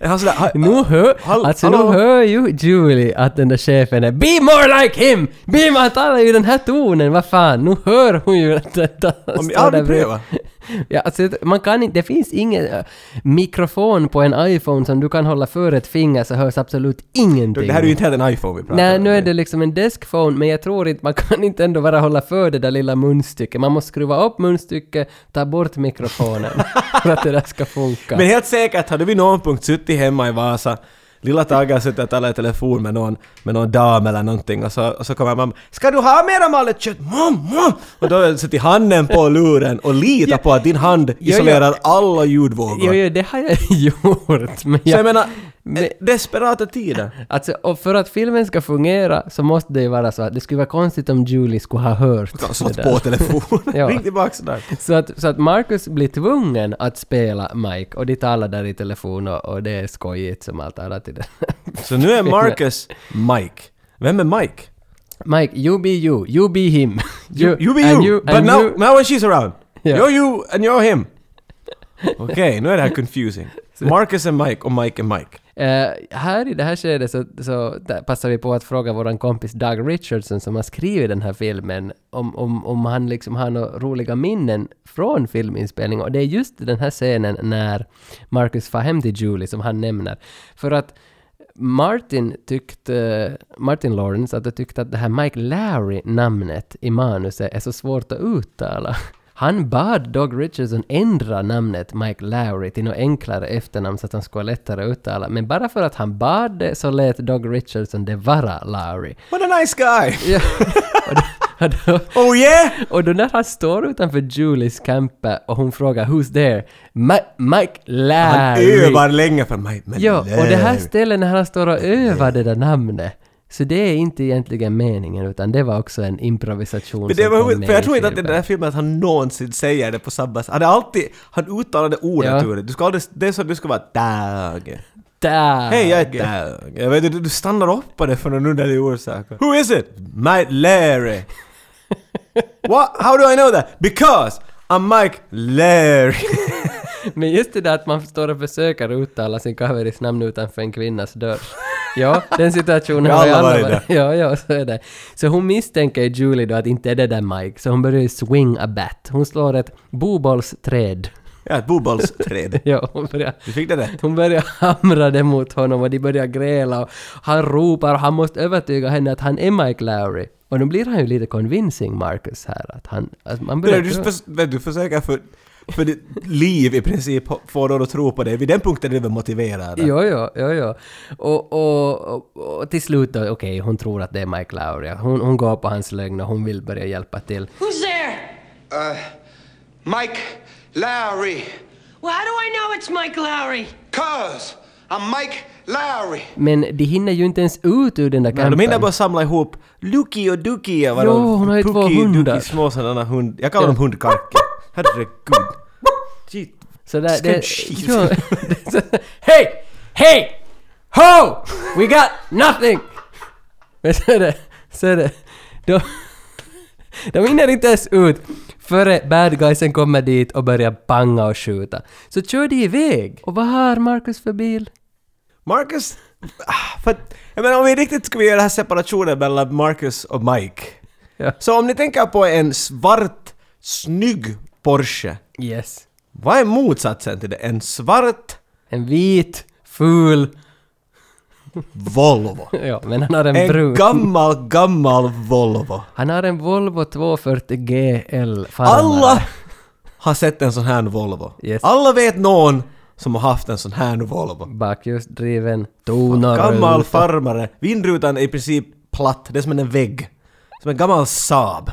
[SPEAKER 1] Är Han sådär, "Ha-
[SPEAKER 2] Nu hör,
[SPEAKER 1] hall-
[SPEAKER 2] alltså,
[SPEAKER 1] hallå?"
[SPEAKER 2] nu hör ju Julie att den där chefen är “Be more like him!” Be more, han talar ju i den här tonen, vad fan, nu hör hon ju att den där...
[SPEAKER 1] Om jag
[SPEAKER 2] står där
[SPEAKER 1] aldrig
[SPEAKER 2] bredvid.
[SPEAKER 1] prövar.
[SPEAKER 2] Ja, alltså, man kan inte, det finns ingen äh, mikrofon på en iPhone som du kan hålla för ett finger så hörs absolut ingenting.
[SPEAKER 1] Det här är ju inte heller en iPhone vi pratar
[SPEAKER 2] Nej,
[SPEAKER 1] om.
[SPEAKER 2] nu är det liksom en deskphone, men jag tror inte, man kan inte ändå bara hålla för det där lilla munstycket. Man måste skruva upp munstycket, ta bort mikrofonen för att det där ska funka.
[SPEAKER 1] Men helt säkert hade vi någon punkt suttit hemma i Vasa Lilla Tage har suttit och talat i telefon med någon, med någon dam eller någonting och så, och så kommer mamma ”Ska du ha mera malet kött? Mamma!” Och då sätter handen på luren och litar på att din hand
[SPEAKER 2] ja.
[SPEAKER 1] isolerar alla
[SPEAKER 2] Jo,
[SPEAKER 1] ljudvågor.
[SPEAKER 2] jo, det har jag gjort, men
[SPEAKER 1] Så
[SPEAKER 2] jag...
[SPEAKER 1] jag menar, eh,
[SPEAKER 2] Men-
[SPEAKER 1] desperata tider.
[SPEAKER 2] Alltså, och för att filmen ska fungera så måste det ju vara så att det skulle vara konstigt om Julie skulle ha hört
[SPEAKER 1] Jag har slått
[SPEAKER 2] det
[SPEAKER 1] på
[SPEAKER 2] där.
[SPEAKER 1] telefonen.
[SPEAKER 2] Ja.
[SPEAKER 1] Ring tillbaka sådär.
[SPEAKER 2] Så att, så att Marcus blir tvungen att spela Mike och de talar där i telefon och, och det är skojigt som allt annat i den.
[SPEAKER 1] Så nu är Marcus Mike. Vem är Mike?
[SPEAKER 2] Mike, you be you, you be him.
[SPEAKER 1] You, you be you,
[SPEAKER 2] and you
[SPEAKER 1] but
[SPEAKER 2] and
[SPEAKER 1] now,
[SPEAKER 2] you-
[SPEAKER 1] now when she's around,
[SPEAKER 2] Ja.
[SPEAKER 1] you're you and you're him. Okej, nu är det här confusing. Marcus är Mike och Mike är Mike.
[SPEAKER 2] Eh, här i det här skedet så, så där passar vi på att fråga vår kompis Doug Richardson som har skrivit den här filmen om, om, om han liksom har några roliga minnen från filminspelning och det är just den här scenen när Marcus far hem till Julie som han nämner. För att Martin tyckte, Martin Lawrence, att tyckte att det här Mike Larry-namnet i manuset är så svårt att uttala. Han bad Doug Richardson ändra namnet Mike Lowry till något enklare efternamn så att han skulle ha lättare att uttala. Men bara för att han bad det så lät Doug Richardson det vara Lowry.
[SPEAKER 1] What a nice guy!
[SPEAKER 2] Ja. Och det,
[SPEAKER 1] oh yeah!
[SPEAKER 2] Och då när han står utanför Julies camper och hon frågar “Who's there?” Ma- Mike Larry.
[SPEAKER 1] Han övar länge för mig. men
[SPEAKER 2] Ja, och det här
[SPEAKER 1] Larry.
[SPEAKER 2] stället när han står och övar det där namnet. Så det är inte egentligen meningen utan det var också en improvisation
[SPEAKER 1] Men det
[SPEAKER 2] som kom
[SPEAKER 1] var,
[SPEAKER 2] med
[SPEAKER 1] för
[SPEAKER 2] i
[SPEAKER 1] jag tror inte att i
[SPEAKER 2] filmen.
[SPEAKER 1] den här filmen att han någonsin säger det på samma sätt. Han, är alltid, han uttalade onaturligt. Du ska aldrig, det är som du ska vara Dag.
[SPEAKER 2] Dag.
[SPEAKER 1] Hej, jag är Dag. Jag vet inte, du stannar upp på det för någon underlig orsak. Who is it? Mike Larry. What? How do I know that? Because I'm Mike Larry.
[SPEAKER 2] Men just det där att man står och försöker uttala sin kaveris namn utanför en kvinnas dörr. Ja, den situationen
[SPEAKER 1] Vi
[SPEAKER 2] har ju
[SPEAKER 1] alla
[SPEAKER 2] alla
[SPEAKER 1] varit
[SPEAKER 2] varit. Ja, ja, så är det. Så hon misstänker ju Julie då att inte är det där Mike, så hon börjar ju swing a bat. Hon slår ett bobollsträd.
[SPEAKER 1] Ja, ett bobollsträd.
[SPEAKER 2] ja, hon börjar...
[SPEAKER 1] Du fick det där?
[SPEAKER 2] Hon börjar hamra det mot honom och de börjar gräla och han ropar och han måste övertyga henne att han är Mike Lowry. Och nu blir han ju lite convincing, Marcus, här. Att han... Att man börjar...
[SPEAKER 1] Du, du, förs- men du försöker för, för ditt liv i princip ho- få någon att tro på dig. Vid den punkten är du väl motiverad?
[SPEAKER 2] Jo, jo, jo, jo. Och, och, och, och till slut då, okej, hon tror att det är Mike Lowry. Hon, hon går på hans lögn och hon vill börja hjälpa till.
[SPEAKER 14] Who's there?
[SPEAKER 8] Uh, Mike Lowry.
[SPEAKER 14] Well, how do I know it's Mike Lowry?
[SPEAKER 8] Cuz I'm Mike Lowry.
[SPEAKER 2] Men de hinner ju inte ens ut ur den där
[SPEAKER 1] Nej,
[SPEAKER 2] kampen.
[SPEAKER 1] de hinner bara samla ihop Luki och Duki. vad
[SPEAKER 2] Jo,
[SPEAKER 1] de-
[SPEAKER 2] hon har ju två
[SPEAKER 1] Puki,
[SPEAKER 2] hundar.
[SPEAKER 1] Duki, små sådana hund... Jag kallar dem
[SPEAKER 2] Ja.
[SPEAKER 1] hundkarkar. Herregud. Shit.
[SPEAKER 2] Så där,
[SPEAKER 1] Skrämt
[SPEAKER 2] det...
[SPEAKER 1] skit.
[SPEAKER 2] Jo, det- så- Hej! Hej! Ho! We got nothing! Men så är det... Så är det... De, de hinner inte ens ut före bad guysen kommer dit och börjar panga och skjuta. Så kör de iväg. Och vad har Marcus för bil?
[SPEAKER 1] Marcus... ah, För, att- jag menar om vi riktigt skulle göra den här separationen mellan Marcus och Mike.
[SPEAKER 2] Ja.
[SPEAKER 1] Så om ni tänker på en svart, snygg Porsche.
[SPEAKER 2] Yes.
[SPEAKER 1] Vad är motsatsen till det? En svart...
[SPEAKER 2] En vit, ful...
[SPEAKER 1] Volvo.
[SPEAKER 2] Ja, men han har en, brun.
[SPEAKER 1] gammal, gammal Volvo.
[SPEAKER 2] Han har en Volvo 240 GL Farmare.
[SPEAKER 1] Alla har sett en sån här Volvo.
[SPEAKER 2] Yes.
[SPEAKER 1] Alla vet någon som har haft en sån här Volvo.
[SPEAKER 2] Bakhjulsdriven, tonar
[SPEAKER 1] Gammal farmare. Vindrutan är i princip platt. Det är som en vägg. Som en gammal Saab.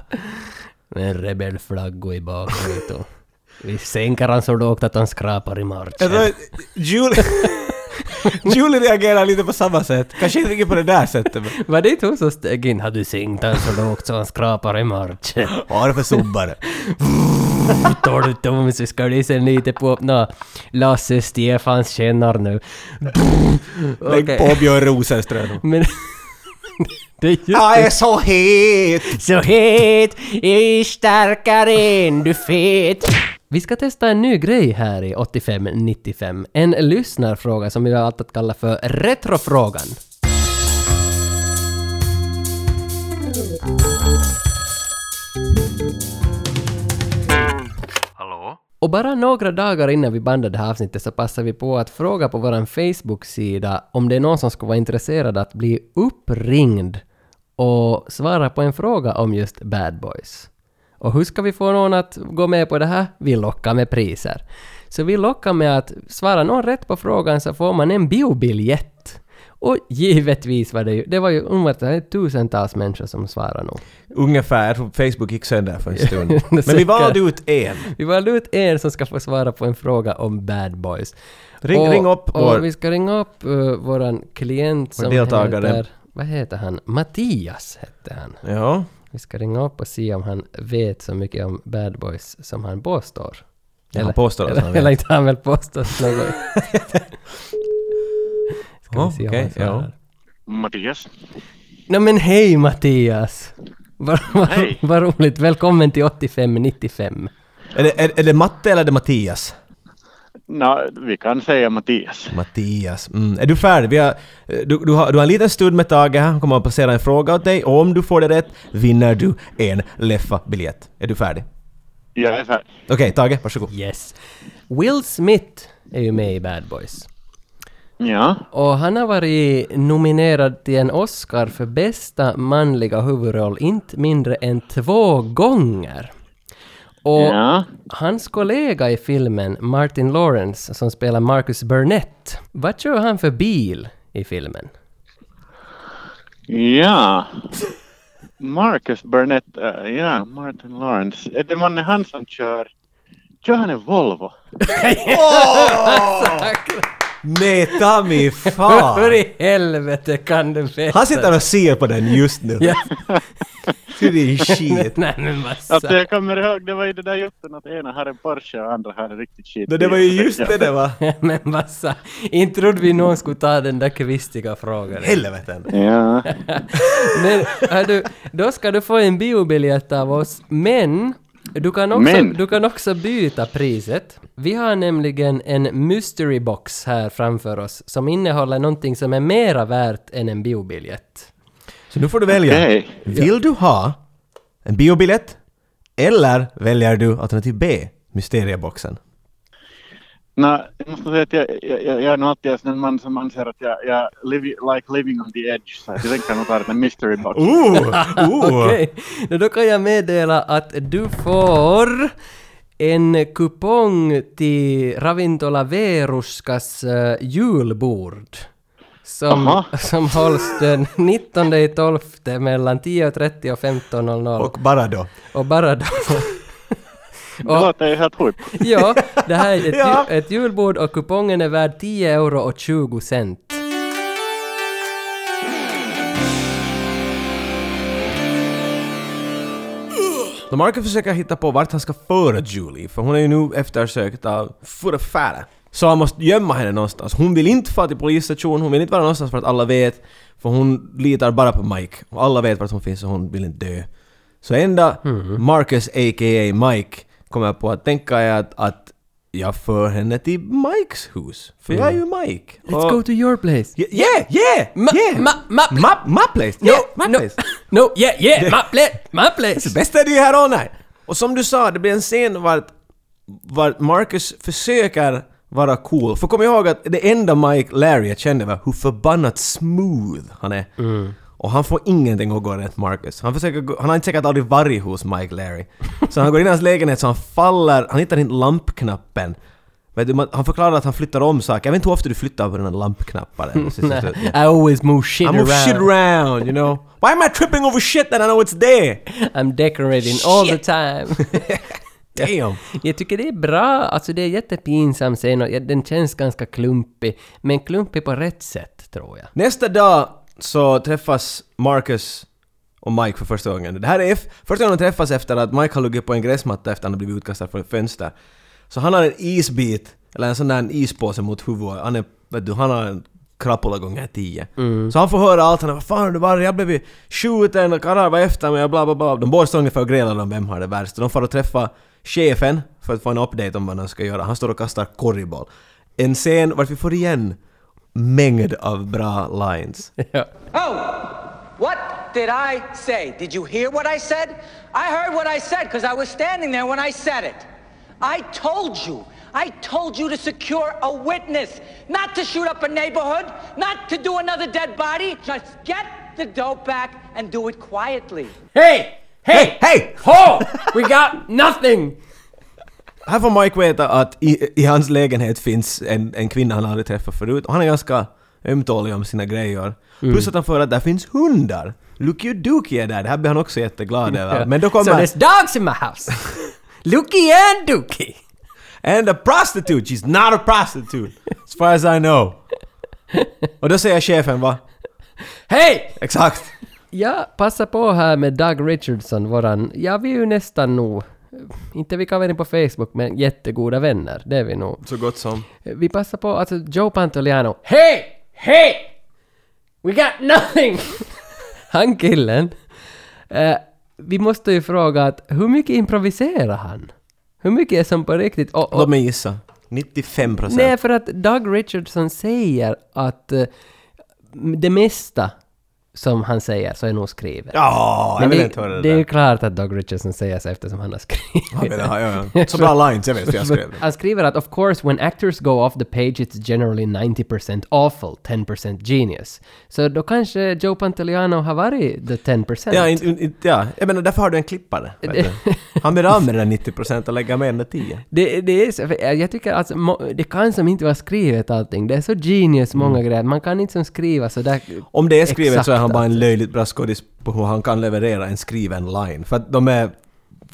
[SPEAKER 2] Med en rebellflagga i bakgrunden. Vi sänker han så lågt att han skrapar i
[SPEAKER 1] Jag tror
[SPEAKER 2] marken.
[SPEAKER 1] att Julie... Julie reagerar lite på samma sätt. Kanske inte riktigt på det där sättet men...
[SPEAKER 2] Var det inte hon som steg in? Har du sänkt han så lågt så han skrapar i marken?
[SPEAKER 1] Vad är det för subbare?
[SPEAKER 2] Tolv tum så ska du sen lite på öppna Lasse Stefans kännar nu.
[SPEAKER 1] Lägg på Björn Rosenström.
[SPEAKER 2] Men... det är just
[SPEAKER 1] Jag är så het!
[SPEAKER 2] Så het, jag är starkare än du fet. Vi ska testa en ny grej här i 85-95. En lyssnarfråga som vi har alltid kallat för Retrofrågan.
[SPEAKER 16] Hallå?
[SPEAKER 2] Och bara några dagar innan vi bandade det här avsnittet så passade vi på att fråga på vår Facebook-sida om det är någon som skulle vara intresserad att bli uppringd och svara på en fråga om just bad boys. Och hur ska vi få någon att gå med på det här? Vi lockar med priser. Så vi lockar med att svara någon rätt på frågan så får man en biobiljett. Och givetvis var det ju, det var ju ungefär tusentals människor som svarade nog.
[SPEAKER 1] Ungefär. Jag tror Facebook gick sönder för en stund.
[SPEAKER 2] Det
[SPEAKER 1] Men vi
[SPEAKER 2] säkert.
[SPEAKER 1] valde ut en.
[SPEAKER 2] Vi valde ut en som ska få svara på en fråga om bad boys.
[SPEAKER 1] Ring- ring upp
[SPEAKER 2] och
[SPEAKER 1] vår-
[SPEAKER 2] Vi ska ringa upp eh, våran klient
[SPEAKER 1] Vår
[SPEAKER 2] som
[SPEAKER 1] deltagare.
[SPEAKER 2] heter... Vad heter han? Mattias hette han.
[SPEAKER 1] Ja.
[SPEAKER 2] Vi ska ringa upp och se om han vet så mycket om bad boys som han påstår.
[SPEAKER 1] Ja, han påstår att
[SPEAKER 2] eller,
[SPEAKER 1] han vet.
[SPEAKER 2] Eller inte han väl påstått något. ska
[SPEAKER 1] Ja,
[SPEAKER 2] vi se om
[SPEAKER 1] okej,
[SPEAKER 2] han svarar.
[SPEAKER 16] Mattias?
[SPEAKER 2] Nå men hej Mattias! Vad vad-
[SPEAKER 16] Hej.
[SPEAKER 2] vad roligt, välkommen till 8595.
[SPEAKER 1] Är det, är, är det Matte eller är det Mattias?
[SPEAKER 16] Nå, vi kan säga Mattias.
[SPEAKER 1] Mattias. Mm. Är du färdig? Vi har, eh, du, du, har, du har en liten stund med Tage här. Han kommer att placera en fråga åt dig. Och om du får det rätt vinner du en Leffa-biljett. Är du färdig?
[SPEAKER 16] Jag är färdig.
[SPEAKER 1] Okej, Tage, varsågod.
[SPEAKER 2] Yes. Will Smith är ju med i Bad Boys.
[SPEAKER 16] Ja.
[SPEAKER 2] Och han har varit nominerad till en Oscar för bästa manliga huvudroll inte mindre än två gånger. Och
[SPEAKER 16] Ja.
[SPEAKER 2] hans kollega i filmen, Martin Lawrence, som spelar Marcus Burnett, vad kör han för bil i filmen?
[SPEAKER 16] Ja. Marcus Burnett, äh, ja, Martin Lawrence. Är det mannen han som kör? Kör han en Volvo?
[SPEAKER 1] Nej, ta mig fan!
[SPEAKER 2] Hur i helvete kan du veta?
[SPEAKER 1] Ah. Han sitter och ser på den just nu.
[SPEAKER 2] Ja.
[SPEAKER 1] Så det är shit.
[SPEAKER 2] Nej men vad
[SPEAKER 16] Alltså
[SPEAKER 2] sa
[SPEAKER 16] jag kommer ihåg, det var ju det där jutten att ena har en Porsche och andra har en riktigt shit.
[SPEAKER 1] Det var ju just det det var.
[SPEAKER 2] Men vad sa Inte trodde vi någon skulle ta den där kvistiga frågan.
[SPEAKER 1] Helveten.
[SPEAKER 16] Ja.
[SPEAKER 2] Men hördu, då ska du få en biobiljett av oss, men du kan, också,
[SPEAKER 16] Men.
[SPEAKER 2] du kan också byta priset. Vi har nämligen en mystery box här framför oss som innehåller någonting som är mera värt än en biobiljett.
[SPEAKER 1] Så nu får du välja.
[SPEAKER 16] Okej.
[SPEAKER 1] Vill du ha en biobiljett? Eller väljer du alternativ B, Mysterieboxen?
[SPEAKER 16] Nå, jag måste säga att jag, jag, jag, jag är nog alltid en sån man som anser att jag, jag live, like living on the edge. Så att jag tänker nog ta den mystery box.
[SPEAKER 2] Okej, okay. då kan jag meddela att du får en kupong till Ravintola Veruskas eh, julbord. Som,
[SPEAKER 16] Aha.
[SPEAKER 2] som hålls den 19 i 12 mellan 10.30 och 15.00.
[SPEAKER 1] Och bara då.
[SPEAKER 2] Och bara då.
[SPEAKER 16] Det
[SPEAKER 15] Uh,
[SPEAKER 2] Och-
[SPEAKER 16] låter ju helt sjukt.
[SPEAKER 2] ja, det här är ett, ju-
[SPEAKER 1] Ja.
[SPEAKER 2] ett julbord och kupongen är värd 10 euro och 20 cent.
[SPEAKER 1] Då Marcus försöker hitta på vart han ska föra Julie, för hon är ju nu eftersökt av förfärare. Så han måste gömma henne någonstans. Hon vill inte fara till polisstationen, hon vill inte vara någonstans för att alla vet. För hon litar bara på Mike. Och alla vet vart hon finns och hon vill inte dö. Så enda
[SPEAKER 2] Mm.
[SPEAKER 1] Marcus a.k.a. Mike kommer på att tänka är att, att jag för henne till Mikes hus. För jag är ju Mike.
[SPEAKER 2] Mm. Let's go to your place.
[SPEAKER 1] Yeah, yeah! Yeah!
[SPEAKER 2] Ma-
[SPEAKER 1] yeah.
[SPEAKER 2] ma- ma-
[SPEAKER 1] ma- ma place!
[SPEAKER 2] No,
[SPEAKER 1] Yeah, ma
[SPEAKER 2] no,
[SPEAKER 1] place!
[SPEAKER 2] no, yeah, yeah,
[SPEAKER 1] Det-
[SPEAKER 2] my place, my place.
[SPEAKER 1] Det bästa är det ju här all night. Och som du sa, det blir en scen vart, vart Marcus försöker vara cool. För kom ihåg att det enda Mike Larry jag kände var hur förbannat smooth han är. Och han får ingenting att gå rätt Marcus. Han, försöker, gå- han har inte säkert aldrig varit hos Mike Larry. Så han går in i hans lägenhet så han faller, han hittar inte lampknappen. Vet du, man, han förklarar att han flyttar om saker. Jag vet inte hur ofta du flyttar på den här lampknappen. Så- så- så-
[SPEAKER 2] I always move shit
[SPEAKER 1] I
[SPEAKER 2] around.
[SPEAKER 1] move shit around, you know. Why am I tripping over shit that I know it's there?
[SPEAKER 2] I'm decorating all the time.
[SPEAKER 1] Damn.
[SPEAKER 2] Jag tycker det är bra, alltså det är jättepinsam scen och den känns ganska klumpig. Men klumpig på rätt sätt, tror jag.
[SPEAKER 1] Nästa dag så träffas Marcus och Mike för första gången. Det här är f- första gången de träffas efter att Mike har luggit på en gräsmatta efter att han har blivit utkastad från ett fönster. Så han har en isbit, eller en sån där en ispåse mot huvudet. Han är, vet du, han har en krapula gånger tio. Så han får höra allt, han är vad fan har du varit? Jag blev ju skjuten och karlar var efter mig och bla bla bla. De båda står ungefär och grälar om vem har det värst. De får och träffa chefen för att få en update om vad de ska göra. Han står och kastar korriboll. En scen vart vi får igen mängd av bra lines.
[SPEAKER 3] Oh, what did I say? Did you hear what I said? I heard what I said because I was standing there when I said it. I told you. I told you to secure a witness, not to shoot up a neighborhood, not to do another dead body. Just get the dope back and do it quietly.
[SPEAKER 2] Hey! Hey!
[SPEAKER 1] Hej!
[SPEAKER 2] Ho! We got nothing!
[SPEAKER 1] Här får Mike veta att i, i hans lägenhet finns en, en kvinna han aldrig träffat förut och han är ganska ömtålig om sina grejer.
[SPEAKER 2] Mm.
[SPEAKER 1] Plus att han får att där finns hundar. Lucky Dookie är där, det här blir han också jätteglad över. Men då
[SPEAKER 2] So
[SPEAKER 1] kommer...
[SPEAKER 2] there's dogs in my house! Lookie and Dookie!
[SPEAKER 1] And a prostitute! She's not a prostitute! As far as I know. Och då säger chefen va?
[SPEAKER 2] Hey!
[SPEAKER 1] Exakt!
[SPEAKER 2] Jag passar på här med Doug Richardson, våran... Ja, vi är ju nästan nog... Inte vi kan vara inne på Facebook, men jättegoda vänner. Det är vi nog.
[SPEAKER 1] Så gott som.
[SPEAKER 2] Vi passar på, alltså Joe Pantoliano. Hey! Hey! We got nothing! han killen. Eh, vi måste ju fråga att hur mycket improviserar han? Hur mycket är som på riktigt? Och, och,
[SPEAKER 1] Låt mig gissa. 95 procent.
[SPEAKER 2] nej, för att Doug Richardson säger att eh, det mesta som han säger så är nog skrivet.
[SPEAKER 1] Ja, jag
[SPEAKER 2] Men
[SPEAKER 1] vill
[SPEAKER 2] det,
[SPEAKER 1] inte höra det,
[SPEAKER 2] det är ju
[SPEAKER 1] där.
[SPEAKER 2] klart att Doug Richardson säger så eftersom han har skrivit
[SPEAKER 1] Han vill ha, ja, ja. Så bra lines, jag vet hur jag skrev det.
[SPEAKER 2] Han skriver att of course when actors go off the page it's generally 90% awful, 10% genius. Så då kanske Joe Pantoliano har varit the 10%.
[SPEAKER 1] Ja, inte inte- ja, jag menar därför har du en klippare. vet
[SPEAKER 2] Det-
[SPEAKER 1] du. Han blir av med den 90 procent och lägger med den 10.
[SPEAKER 2] det, det är så, för jag tycker alltså, må- det kan som
[SPEAKER 1] Mm.
[SPEAKER 2] inte vara skrivet allting. Det är så genius många grejer. Man kan inte som skriva så där
[SPEAKER 1] Om det är skrivet så är
[SPEAKER 2] exakt.
[SPEAKER 1] han bara en löjligt bra skådis på hur han kan leverera en skriven line. För att de är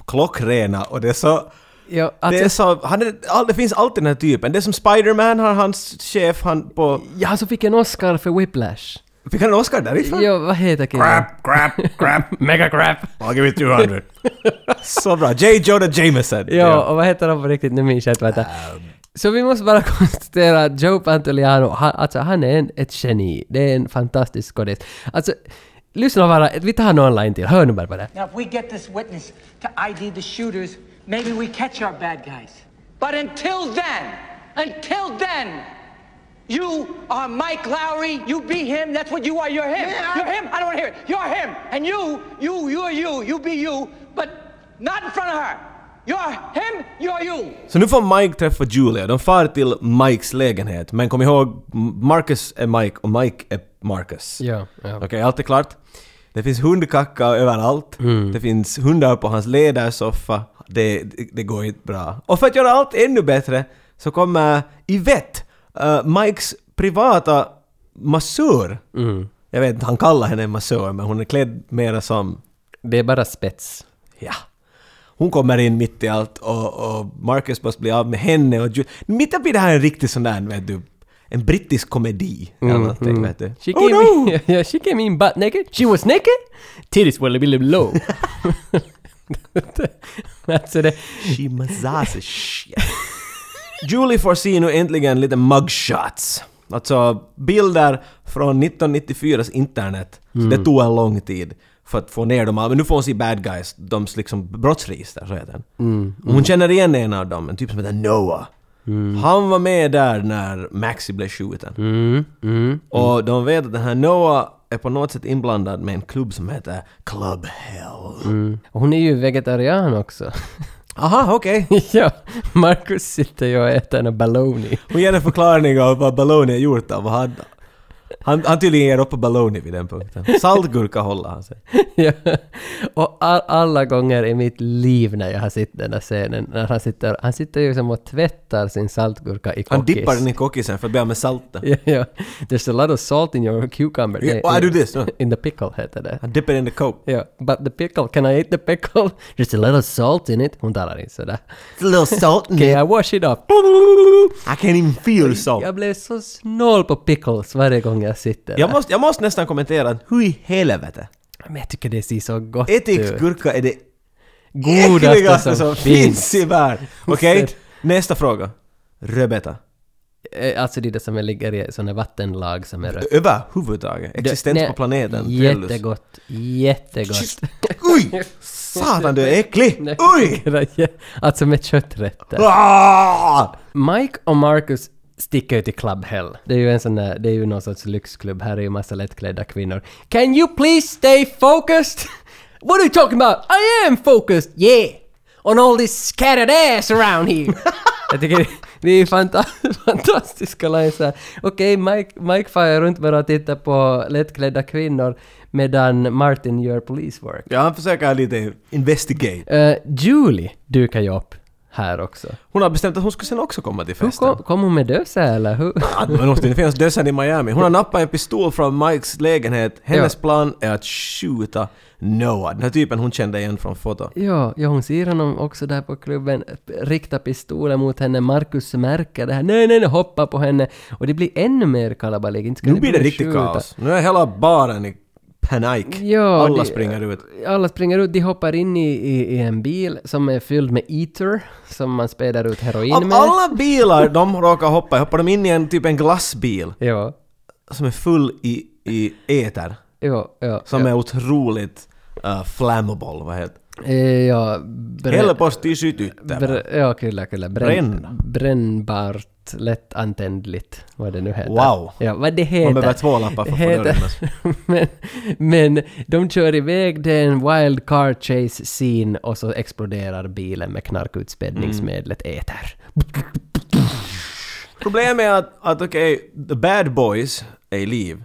[SPEAKER 1] klockrena och det är så...
[SPEAKER 2] Ja, alltså,
[SPEAKER 1] det, är så han är, all, det finns alltid den här typen. Det är som Spiderman har hans chef han på...
[SPEAKER 2] Ja, han som fick en Oscar för Whiplash.
[SPEAKER 1] Fick han en Oscar därifrån?
[SPEAKER 2] Jo, vad heter killen?
[SPEAKER 1] Crap, crap, crap.
[SPEAKER 2] Mega crap.
[SPEAKER 1] I'll give you 200. så bra. J. Jonah Jameson.
[SPEAKER 2] Ja, och vad heter han på riktigt? Nu minns jag inte vad han heter. Så vi måste bara konstatera att Joe Pantoliano, han, alltså han är en, ett geni. Det är en fantastisk skådis. Alltså, lyssna bara, vi tar någon line till. Hör nu bara på det.
[SPEAKER 3] Now, if we get this witness to ID the shooters, maybe we catch our bad guys. But until then, until then, you are Mike Lowry. You be him. That's what you are. You're him. You're him. I don't want to hear it. You're him. And you, you, you're you. You be you, but not in front of her. You're him. You're you.
[SPEAKER 1] Så nu får Mike träffa Julia. De far till Mikes lägenhet. Men kom ihåg, Marcus är Mike och Mike är Marcus.
[SPEAKER 2] Ja, ja.
[SPEAKER 1] Okej, allt är klart. Det finns hundkacka överallt.
[SPEAKER 2] Mm.
[SPEAKER 1] Det finns hundar på hans ledarsoffa. Det, det, det går inte bra. Och för att göra allt ännu bättre så kommer Yvette, eh, Mikes privata massör.
[SPEAKER 2] Mm.
[SPEAKER 1] Jag vet inte, han kallar henne massör men hon är klädd mera som...
[SPEAKER 2] Det är bara spets.
[SPEAKER 1] Ja. Hon kommer in mitt i allt och, och Marcus måste bli av med henne och Ju- Mitt uppe i det här är en riktig sån där, vet du, en brittisk komedi. eller
[SPEAKER 2] Mm,
[SPEAKER 1] någonting,
[SPEAKER 2] mm.
[SPEAKER 1] vet du.
[SPEAKER 2] She
[SPEAKER 1] Oh
[SPEAKER 2] came in, yeah, she came in butt naked. She was naked. Titties were a little low. alltså det...
[SPEAKER 1] She massages shit. Julie får se nu äntligen lite mugshots. Alltså bilder från 1994s internet. Så
[SPEAKER 2] Mm.
[SPEAKER 1] det tog en lång tid för att få ner dem alla. Men nu får hon se bad guys, de liksom brottsregister, så heter den.
[SPEAKER 2] Mm,
[SPEAKER 1] Och hon känner igen en av dem, en typ som heter Noah. Han var med där när Maxi blev skjuten.
[SPEAKER 2] Mm.
[SPEAKER 1] Och de vet att den här Noah är på något sätt inblandad med en klubb som heter Club Hell.
[SPEAKER 2] Mm. Och Hon är ju vegetarian också.
[SPEAKER 1] Aha, okej.
[SPEAKER 2] ja, Marcus sitter ju och äter en baloney.
[SPEAKER 1] Hon ger en förklaring av vad Baloney är gjort av. och Han, han, han tydligen ger upp på Baloney vid den punkten. Saltgurka håller han sig.
[SPEAKER 2] ja. Och all, alla gånger i mitt liv när jag har sett den här scenen, när han sitter, han sitter ju som och tvättar sin saltgurka i kokis.
[SPEAKER 1] Han dippar den i kokisen för att bli av med saltet.
[SPEAKER 2] Ja, ja. There's a lot of salt in your cucumber.
[SPEAKER 1] Yeah, why I do this, no?
[SPEAKER 2] In the pickle heter det.
[SPEAKER 1] Han dippar in the coke.
[SPEAKER 2] Ja, but the pickle, can I eat the pickle? There's a little salt in it. Hon talar inte sådär.
[SPEAKER 1] It's a little salt in
[SPEAKER 2] can
[SPEAKER 1] it.
[SPEAKER 2] I wash it up?
[SPEAKER 1] I can't even feel salt.
[SPEAKER 2] Jag blev så snål på pickles varje gång jag sitter
[SPEAKER 1] Jag
[SPEAKER 2] där.
[SPEAKER 1] måste, jag måste nästan kommentera, hur i helvete?
[SPEAKER 2] Men jag tycker det ser så gott ut.
[SPEAKER 1] Ättiksgurka är det
[SPEAKER 2] Godaste
[SPEAKER 1] äckligaste
[SPEAKER 2] som
[SPEAKER 1] som
[SPEAKER 2] finns.
[SPEAKER 1] finns i världen. Okej,
[SPEAKER 2] Ser.
[SPEAKER 1] nästa fråga. Rödbeta.
[SPEAKER 2] Eh, Alltså det är det som ligger i sådana vattenlag som är rött.
[SPEAKER 1] Överhuvudtaget. Existens
[SPEAKER 2] nej,
[SPEAKER 1] på planeten. Trellus.
[SPEAKER 2] Jättegott. Jättegott.
[SPEAKER 1] Oj! Satan, du är äcklig! Oj!
[SPEAKER 2] alltså med kötträtter.
[SPEAKER 1] Ah!
[SPEAKER 2] Mike och Marcus sticker ut i Club Hell. Det är ju en sån där, det är ju någon sorts lyxklubb. Här är ju massa lättklädda kvinnor. Can you please stay focused? What are you talking about? I am focused! Yeah! On all this scattered ass around here! Jag tycker det- det är fanta- fantastiska lines här. Okej, Mike, Mike far runt bara och tittar på lättklädda kvinnor medan Martin gör police work.
[SPEAKER 1] Ja, han försöker lite investigate.
[SPEAKER 2] Eh, Julie dukar ju upp här också.
[SPEAKER 1] Hon har bestämt att hon ska sen också komma till festen.
[SPEAKER 2] Kom, kom hon med dösa eller? Hur?
[SPEAKER 1] Ja, det måste ju finnas dödsfall i Miami. Hon har nappat en pistol från Mikes lägenhet. Hennes
[SPEAKER 2] Ja.
[SPEAKER 1] plan är att skjuta Noah. Den här typen hon kände igen från foto.
[SPEAKER 2] Ja, ja, hon ser honom också där på klubben rikta pistolen mot henne. Marcus märker det här. Nej, nej, nej, hoppa på henne. Och det blir ännu mer kalabalik. Inte ska
[SPEAKER 1] Nu
[SPEAKER 2] ni
[SPEAKER 1] blir det
[SPEAKER 2] börja
[SPEAKER 1] riktigt
[SPEAKER 2] skjuta.
[SPEAKER 1] kaos. Nu är hela baren i panik.
[SPEAKER 2] Ja,
[SPEAKER 1] Alla
[SPEAKER 2] det-
[SPEAKER 1] springer ut.
[SPEAKER 2] Alla springer ut. De hoppar in i, i, i en bil som är fylld med eater som man späder ut heroin
[SPEAKER 1] Av
[SPEAKER 2] med.
[SPEAKER 1] alla bilar de råkar hoppa i, hoppar de in i en typ en glassbil
[SPEAKER 2] Ja,
[SPEAKER 1] som är full i, i eter.
[SPEAKER 2] ja, ja.
[SPEAKER 1] Som
[SPEAKER 2] ja.
[SPEAKER 1] är otroligt uh, flammable, vad heter
[SPEAKER 2] Eh, ja,
[SPEAKER 1] det?
[SPEAKER 2] brä-
[SPEAKER 1] Häll på styrskytyttävä.
[SPEAKER 2] brä- Ja, kyllä, kyllä.
[SPEAKER 1] Bränn.
[SPEAKER 2] Brännbart, lättantändligt, vad det nu heter.
[SPEAKER 1] Wow.
[SPEAKER 2] Ja, vad det heter.
[SPEAKER 1] Man behöver två lampor för att få
[SPEAKER 2] Heter-
[SPEAKER 1] dörren.
[SPEAKER 2] men, men de kör iväg, det är en wild car chase scene och så exploderar bilen med knarkutspädningsmedlet
[SPEAKER 1] Mm.
[SPEAKER 2] eter.
[SPEAKER 1] Problemet är att, att okej, the bad boys är i liv.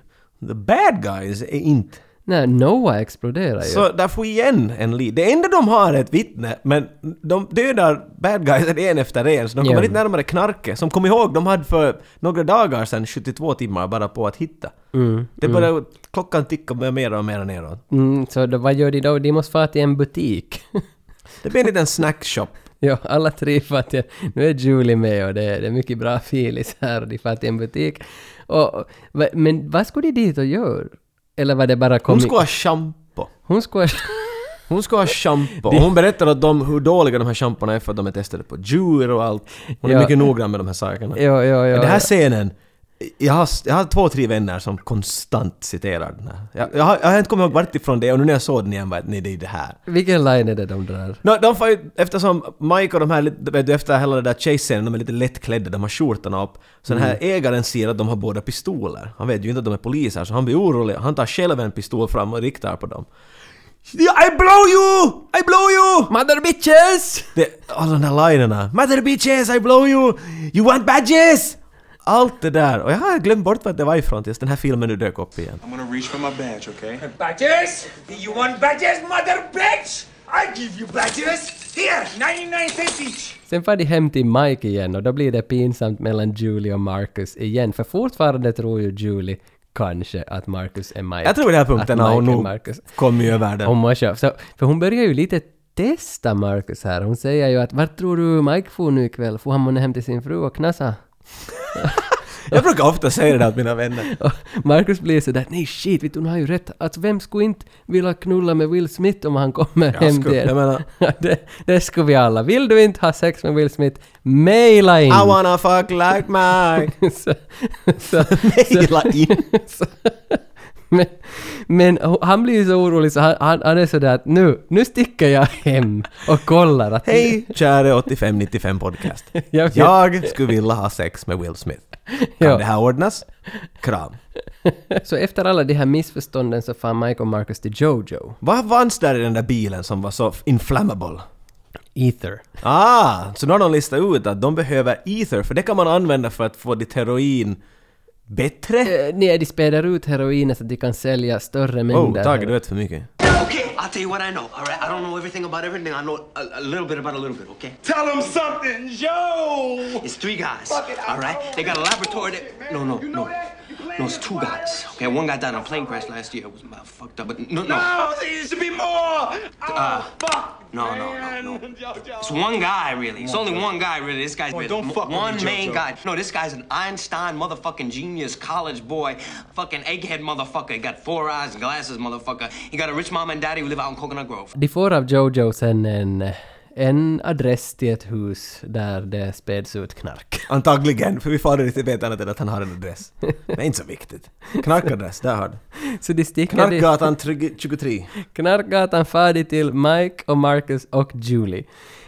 [SPEAKER 1] The bad guys är inte.
[SPEAKER 2] Nej, Noah exploderar ju.
[SPEAKER 1] Så där får igen en lead. Det enda de har är ett vittne, men de dödar bad guysen en efter en, så de kommer
[SPEAKER 2] Ja.
[SPEAKER 1] inte närmare knarket. Som kom ihåg, de hade för några dagar sedan 72 timmar bara på att hitta.
[SPEAKER 2] Mm,
[SPEAKER 1] Det
[SPEAKER 2] mm.
[SPEAKER 1] börjar klockan ticka med mer och mer neråt.
[SPEAKER 2] Mm, så då, vad gör de då? De måste fara till en butik.
[SPEAKER 1] Det blir en liten snackshop.
[SPEAKER 2] ja, alla tre far till... Nu är Julie med och det är, det är mycket bra filis här och de far till en butik. Och, va- men vad skulle de dit och göra? Eller var det bara
[SPEAKER 1] Hon
[SPEAKER 2] komi-
[SPEAKER 1] ska ha schampo.
[SPEAKER 2] Hon ska ha...
[SPEAKER 1] Hon ska ha schampo. Och hon berättar åt dem hur dåliga de här schampona är för att de är testade på djur och allt. Hon är
[SPEAKER 2] Ja.
[SPEAKER 1] mycket noggrann med de här sakerna.
[SPEAKER 2] Ja, ja, ja,
[SPEAKER 1] Men den här
[SPEAKER 2] ja.
[SPEAKER 1] scenen, jag har, jag har två, tre vänner som konstant citerar den här. Jag, jag, har, jag har inte kommit ihåg vart ifrån det och nu när jag såg den igen var jag, nej det är det här.
[SPEAKER 2] Vilken line är det de drar?
[SPEAKER 1] No, de får ju, eftersom Mike och de här, lite- vet du, efter hela den där chase-scenen, de är lite lättklädda, de har skjortorna upp. Så den här ägaren ser att de har båda pistoler. Han vet ju inte att de är poliser, så han blir orolig. Han tar själv en pistol fram och riktar på dem. I blow you! I blow you!
[SPEAKER 2] Mother bitches!
[SPEAKER 1] Det, alla oh, de där linerna. Mother bitches, I blow you! You want badges! Allt det där. Och jag har glömt bort vad det var ifrån tills den här filmen nu dök upp igen.
[SPEAKER 11] I'm gonna reach for my badge, okay?
[SPEAKER 15] Badges? You want badges, mother bitch? I give you badges. Here, 99 cents each.
[SPEAKER 2] Sen far de hem till Mike igen och då blir det pinsamt mellan Julie och Marcus igen. För fortfarande tror ju Julie kanske att Marcus är Mike.
[SPEAKER 1] Jag tror i den här
[SPEAKER 2] Att
[SPEAKER 1] punkten har
[SPEAKER 2] Mike
[SPEAKER 1] hon
[SPEAKER 2] är
[SPEAKER 1] nog
[SPEAKER 2] Marcus.
[SPEAKER 1] kommit över
[SPEAKER 2] Hon
[SPEAKER 1] den.
[SPEAKER 2] måste, så, för hon börjar ju lite testa Marcus här. Hon säger ju att vart tror du Mike får nu ikväll? Får han månne hem till sin fru och knassa?
[SPEAKER 1] Jag brukar ofta säga det där åt mina vänner.
[SPEAKER 2] Och Marcus blir sådär nej shit, vet du, hon har ju rätt. Alltså vem skulle inte vilja knulla med Will Smith om han kommer
[SPEAKER 1] Jag
[SPEAKER 2] hem
[SPEAKER 1] skulle-
[SPEAKER 2] till
[SPEAKER 1] jag
[SPEAKER 2] en?
[SPEAKER 1] menar-
[SPEAKER 2] det, det skulle vi alla. Vill du inte ha sex med Will Smith? Maila in!
[SPEAKER 1] I wanna fuck like Mike!
[SPEAKER 2] så, så,
[SPEAKER 1] Mejla in.
[SPEAKER 2] så, men, men ho- han blir ju så orolig så han, han, han är sådär att nu, nu sticker jag hem och kollar att...
[SPEAKER 1] Hej kära 8595 podcast.
[SPEAKER 2] Jag
[SPEAKER 1] Jag,
[SPEAKER 2] vet.
[SPEAKER 1] skulle vilja ha sex med Will Smith. Kan
[SPEAKER 2] Ja.
[SPEAKER 1] det här ordnas? Kram.
[SPEAKER 2] Så efter alla de här missförstånden så far Mike och Marcus till Jojo.
[SPEAKER 1] Vad fanns där i den där bilen som var så inflammable?
[SPEAKER 2] Ether.
[SPEAKER 1] Ah, så nu har de listat ut att de behöver ether för det kan man använda för att få ditt heroin bättre?
[SPEAKER 2] Eh, Nej, de späder ut heroinet så att de kan sälja större mängder.
[SPEAKER 1] Oh, Tage du vet för mycket.
[SPEAKER 17] Okay, I'll tell you what I know, all right? I don't know everything about everything. I know a, a little bit about a little bit, okay?
[SPEAKER 5] Tell him something, Joe!
[SPEAKER 17] It's three guys,
[SPEAKER 5] Fuck it, I- Oh,
[SPEAKER 17] all right? They got a laboratory that... No, no, no. No, it's two guys, okay? One guy died in a plane crash last year. It was uh, fucked up, but no, no.
[SPEAKER 5] No, there should be more! Oh,
[SPEAKER 17] Uh,
[SPEAKER 5] fuck!
[SPEAKER 17] No, no,
[SPEAKER 5] man.
[SPEAKER 17] no, no.
[SPEAKER 5] Jojo.
[SPEAKER 17] It's one guy, really. It's only one guy, really. This guy's been
[SPEAKER 5] Boy, don't fuck with
[SPEAKER 17] one
[SPEAKER 5] me,
[SPEAKER 17] main
[SPEAKER 5] Jojo.
[SPEAKER 17] guy. No, this guy's an Einstein motherfucking genius, college boy, fucking egghead motherfucker. He got four eyes and glasses, motherfucker. He got a rich mom and daddy who live out in Coconut Grove.
[SPEAKER 2] De får av Jojo sen en, en adress till ett hus där det späds ut knark.
[SPEAKER 1] Antagligen, för vi får aldrig riktigt veta annat än att han har en adress. Det är inte så viktigt. Knarkadress, där har du.
[SPEAKER 2] Så de sticker dit-
[SPEAKER 1] Knarkgatan 23.
[SPEAKER 2] Knarkgatan färdig till Mike och Marcus och Julie.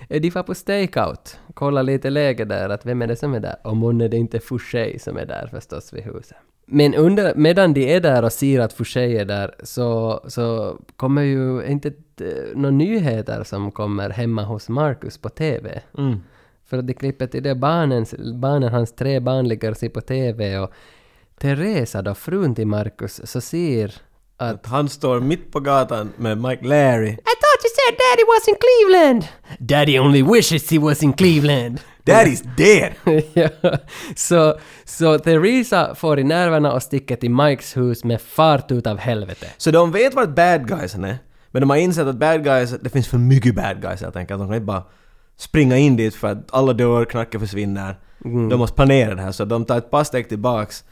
[SPEAKER 2] Eh, De får på stakeout, kolla lite läge där, att vem är det som är där? Och månne det inte Fouché som är där förstås vid huset. Men under, medan de är där och ser att Fouché är där så, så kommer ju inte eh, några nyheter som kommer hemma hos Marcus på TV.
[SPEAKER 1] Mm.
[SPEAKER 2] För att de klipper till det barnens, barnen, hans tre barn ligger och ser på TV och Teresa då, frun till Marcus, så ser att
[SPEAKER 1] Han står mitt på gatan med Mike Larry.
[SPEAKER 2] I thought you said daddy was in Cleveland! Daddy only wishes he was in Cleveland!
[SPEAKER 1] Daddy's dead!
[SPEAKER 2] ja. Så, så Theresa får i nerverna och sticker till Mikes hus med fart utav helvete.
[SPEAKER 1] Så de vet vart bad guysen är, men de har insett att bad guys, det finns för mycket bad guys helt enkelt. De kan inte bara springa in dit för att alla dör, knarket försvinner.
[SPEAKER 2] Mm.
[SPEAKER 1] De måste planera det här, så de tar ett par steg tillbaks.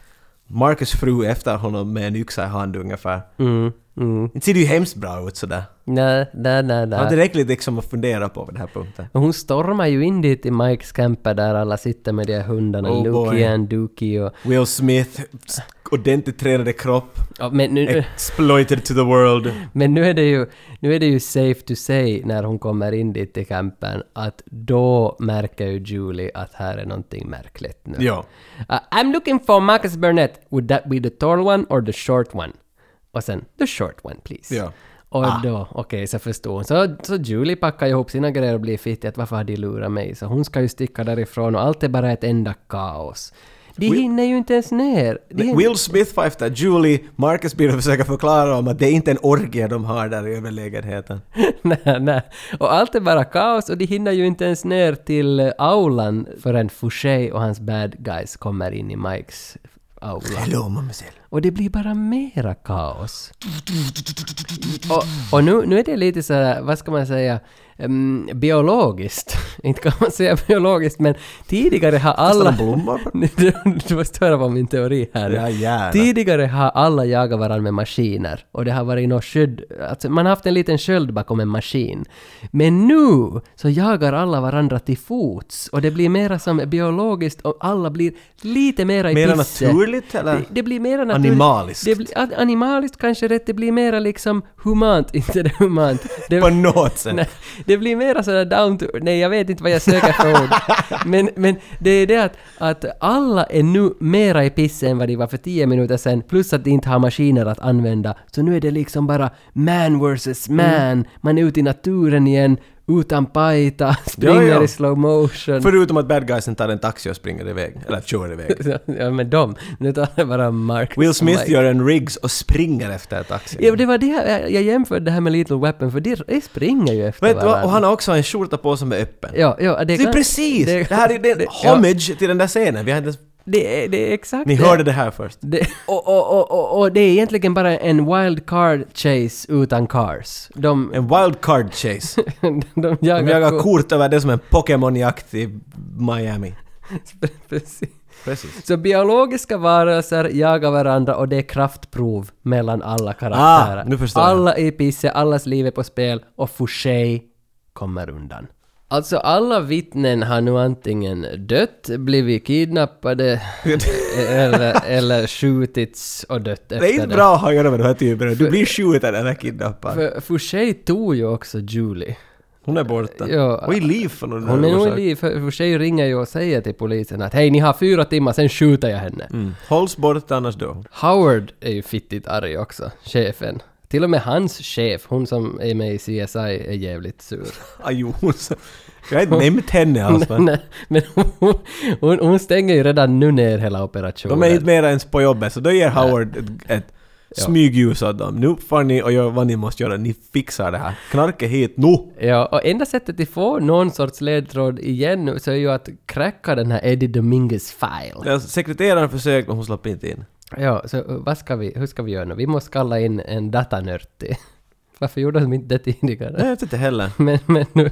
[SPEAKER 1] Marcus fru är efter honom med en yxa i hand ungefär.
[SPEAKER 2] Mm, mm.
[SPEAKER 1] Det ser ju hemskt bra ut sådär.
[SPEAKER 2] Nej, nej, nej,
[SPEAKER 1] Jag har
[SPEAKER 2] nej.
[SPEAKER 1] tillräckligt liksom att fundera på vid den här punkten.
[SPEAKER 2] Och Hon stormar ju in dit i Mikes camper där alla sitter med de här hundarna,
[SPEAKER 1] Oh boy.
[SPEAKER 2] Lukian, Dookie och...
[SPEAKER 1] Will Smith, s- ordentligt tränade kropp.
[SPEAKER 2] Ja, men nu-
[SPEAKER 1] Exploited to the world.
[SPEAKER 2] Men nu är, det ju, nu är det ju safe to say när hon kommer in dit till campen att då märker ju Julie att här är någonting märkligt nu.
[SPEAKER 1] Ja.
[SPEAKER 2] Uh, I'm looking for Marcus Burnett. Would that be the tall one or the short one? Och sen the short one please.
[SPEAKER 1] Ja.
[SPEAKER 2] Och då, okej, så förstår hon. Så, så Julie packar ihop sina grejer och blir fittig att varför har de lurat mig? Så hon ska ju sticka därifrån och allt är bara ett enda kaos. De hinner ju inte ens ner. De hinner-
[SPEAKER 1] Will Smith fightar Julie, Marcus Beard försöker förklara om att det är inte en orgie de har där i överlägenheten.
[SPEAKER 2] nej, nej. Och allt är bara kaos och de hinner ju inte ens ner till eh, aulan förrän Fouché och hans bad guys kommer in i Mikes aula.
[SPEAKER 1] Hello, mademoiselle.
[SPEAKER 2] Och det blir bara mera kaos. Och, och nu, nu är det lite så här, vad ska man säga, um, biologiskt. Inte kan man säga biologiskt, men tidigare har alla...
[SPEAKER 1] de blommar?
[SPEAKER 2] du, du måste höra på min teori här.
[SPEAKER 1] Ja, gärna.
[SPEAKER 2] tidigare har alla jagat varandra med maskiner. Och det har varit något skydd, alltså man har haft en liten sköld bakom en maskin. Men nu så jagar alla varandra till fots. Och det blir mera som biologiskt och alla blir lite mera i
[SPEAKER 1] Mera
[SPEAKER 2] pisse.
[SPEAKER 1] naturligt, eller?
[SPEAKER 2] Det, det blir mera naturligt.
[SPEAKER 1] Animaliskt.
[SPEAKER 2] Det blir, a- animaliskt kanske rätt, det blir mera liksom humant, inte det humant. Det,
[SPEAKER 1] På något sätt.
[SPEAKER 2] Nej, det blir mera sådär down to... Nej, jag vet inte vad jag söker för ord. Men, men det är det att, att alla är nu mera i pissen än vad de var för tio minuter sedan, plus att de inte har maskiner att använda. Så nu är det liksom bara man versus
[SPEAKER 1] Mm.
[SPEAKER 2] man. Man är ute i naturen igen, utan pajta, springer
[SPEAKER 1] ja.
[SPEAKER 2] i slow motion.
[SPEAKER 1] Förutom att bad guysen tar en taxi och springer iväg. Eller kör iväg.
[SPEAKER 2] ja, men de. Nu talar jag bara om Marcus
[SPEAKER 1] Will
[SPEAKER 2] och
[SPEAKER 1] Smith
[SPEAKER 2] Mike.
[SPEAKER 1] gör en Riggs och springer efter taxin.
[SPEAKER 2] Ja, men det var det jag, jag jämförde det här med Little Weapon, för de de springer ju efter
[SPEAKER 1] Vet du vad?
[SPEAKER 2] varandra.
[SPEAKER 1] Och han har också en skjorta på som är öppen.
[SPEAKER 2] Ja, ja,
[SPEAKER 1] det,
[SPEAKER 2] det
[SPEAKER 1] är
[SPEAKER 2] kan-
[SPEAKER 1] precis! Det, här är det, är en
[SPEAKER 2] ja.
[SPEAKER 1] homage till den där scenen. Vi har inte ens...
[SPEAKER 2] Det, är- det är exakt
[SPEAKER 1] Ni hörde det här först.
[SPEAKER 2] Det, och, och, och, och, och det är egentligen bara en wild card chase utan cars. De,
[SPEAKER 1] En wild card chase.
[SPEAKER 2] de
[SPEAKER 1] De
[SPEAKER 2] jagar,
[SPEAKER 1] jagar
[SPEAKER 2] ko-
[SPEAKER 1] kort över det som en Pokémon-jakt i Miami.
[SPEAKER 2] Precis.
[SPEAKER 1] Precis.
[SPEAKER 2] Så biologiska varelser jagar varandra och det är kraftprov mellan alla karaktärer.
[SPEAKER 1] Ah, nu förstår jag.
[SPEAKER 2] alla är pisse, allas liv är på spel och Fouché kommer undan. Alltså alla vittnen har nu antingen dött, blivit kidnappade eller, eller skjutits och dött efter
[SPEAKER 1] Det är inte bra att ha att göra med de här typerna. Du blir skjuten eller kidnappad.
[SPEAKER 2] För Fouché tog ju också Julie.
[SPEAKER 1] Hon är borta.
[SPEAKER 2] Ja.
[SPEAKER 1] och i liv för någon
[SPEAKER 2] Hon är nog i
[SPEAKER 1] orsak.
[SPEAKER 2] liv, för Fouché ringer ju och säger till polisen att hej ni har fyra timmar, sen skjuter jag henne.
[SPEAKER 1] Mm. Hålls borta annars då.
[SPEAKER 2] Howard är ju fittigt arg också, chefen. Till och med hans chef, hon som är med i CSI, är jävligt sur.
[SPEAKER 1] Ah, jo, hon sa- Jag har inte nämnt henne alls.
[SPEAKER 2] Nej,
[SPEAKER 1] men
[SPEAKER 2] nej, men hon, hon, hon stänger ju redan nu ner hela operationen.
[SPEAKER 1] De är inte mer ens på jobbet, så då ger Howard ett, ett
[SPEAKER 2] Ja.
[SPEAKER 1] smygljus åt dem. Nu får ni och gör vad ni måste göra. Ni fixar det här. Knarket hit nu!
[SPEAKER 2] Ja, och enda sättet att få någon sorts ledtråd igen nu så är ju att cracka den här Eddie Dominguez file.
[SPEAKER 1] Ja, Sekreteraren försökte, men hon slapp inte in.
[SPEAKER 2] Ja, så uh, vad ska vi, hur ska vi göra nu? Vi måste kalla in en datanörtig. Varför gjorde de inte det
[SPEAKER 1] Nej, jag
[SPEAKER 2] tidigare?
[SPEAKER 1] vet inte heller.
[SPEAKER 2] Men, men nu,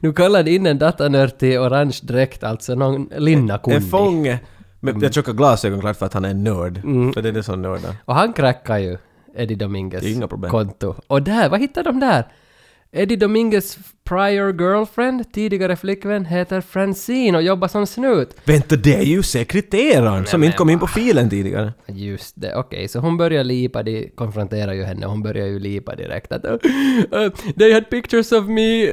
[SPEAKER 2] nu kallade in en datanörtig i orange dräkt, alltså någon linna
[SPEAKER 1] En
[SPEAKER 2] kundi.
[SPEAKER 1] fånge med det tjocka glasögon klart för att han är en nörd.
[SPEAKER 2] Mm.
[SPEAKER 1] För det är det som nördar.
[SPEAKER 2] Och han crackar ju Eddie Dominguez
[SPEAKER 1] Det är inga problem.
[SPEAKER 2] konto. Och där, vad hittar de där? Eddie Dominguez prior girlfriend, tidigare flickvän, heter Francine och jobbar som snut.
[SPEAKER 1] Vänta, det är ju sekreteraren som inte kom in på filen tidigare.
[SPEAKER 2] Just det, okej. Så hon börjar lipa, de konfronterar ju henne, hon börjar ju lipa direkt att "Uh, “They had pictures of me,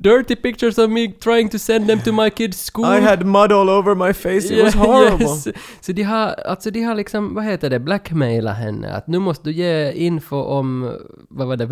[SPEAKER 2] dirty pictures of me trying to send them to my kids school”.
[SPEAKER 1] I had mud all over my face, it was
[SPEAKER 2] Yeah,
[SPEAKER 1] horrible.
[SPEAKER 2] yes. Så de har, alltså de har liksom, vad heter det, blackmailat henne att nu måste du ge info om, vad var det,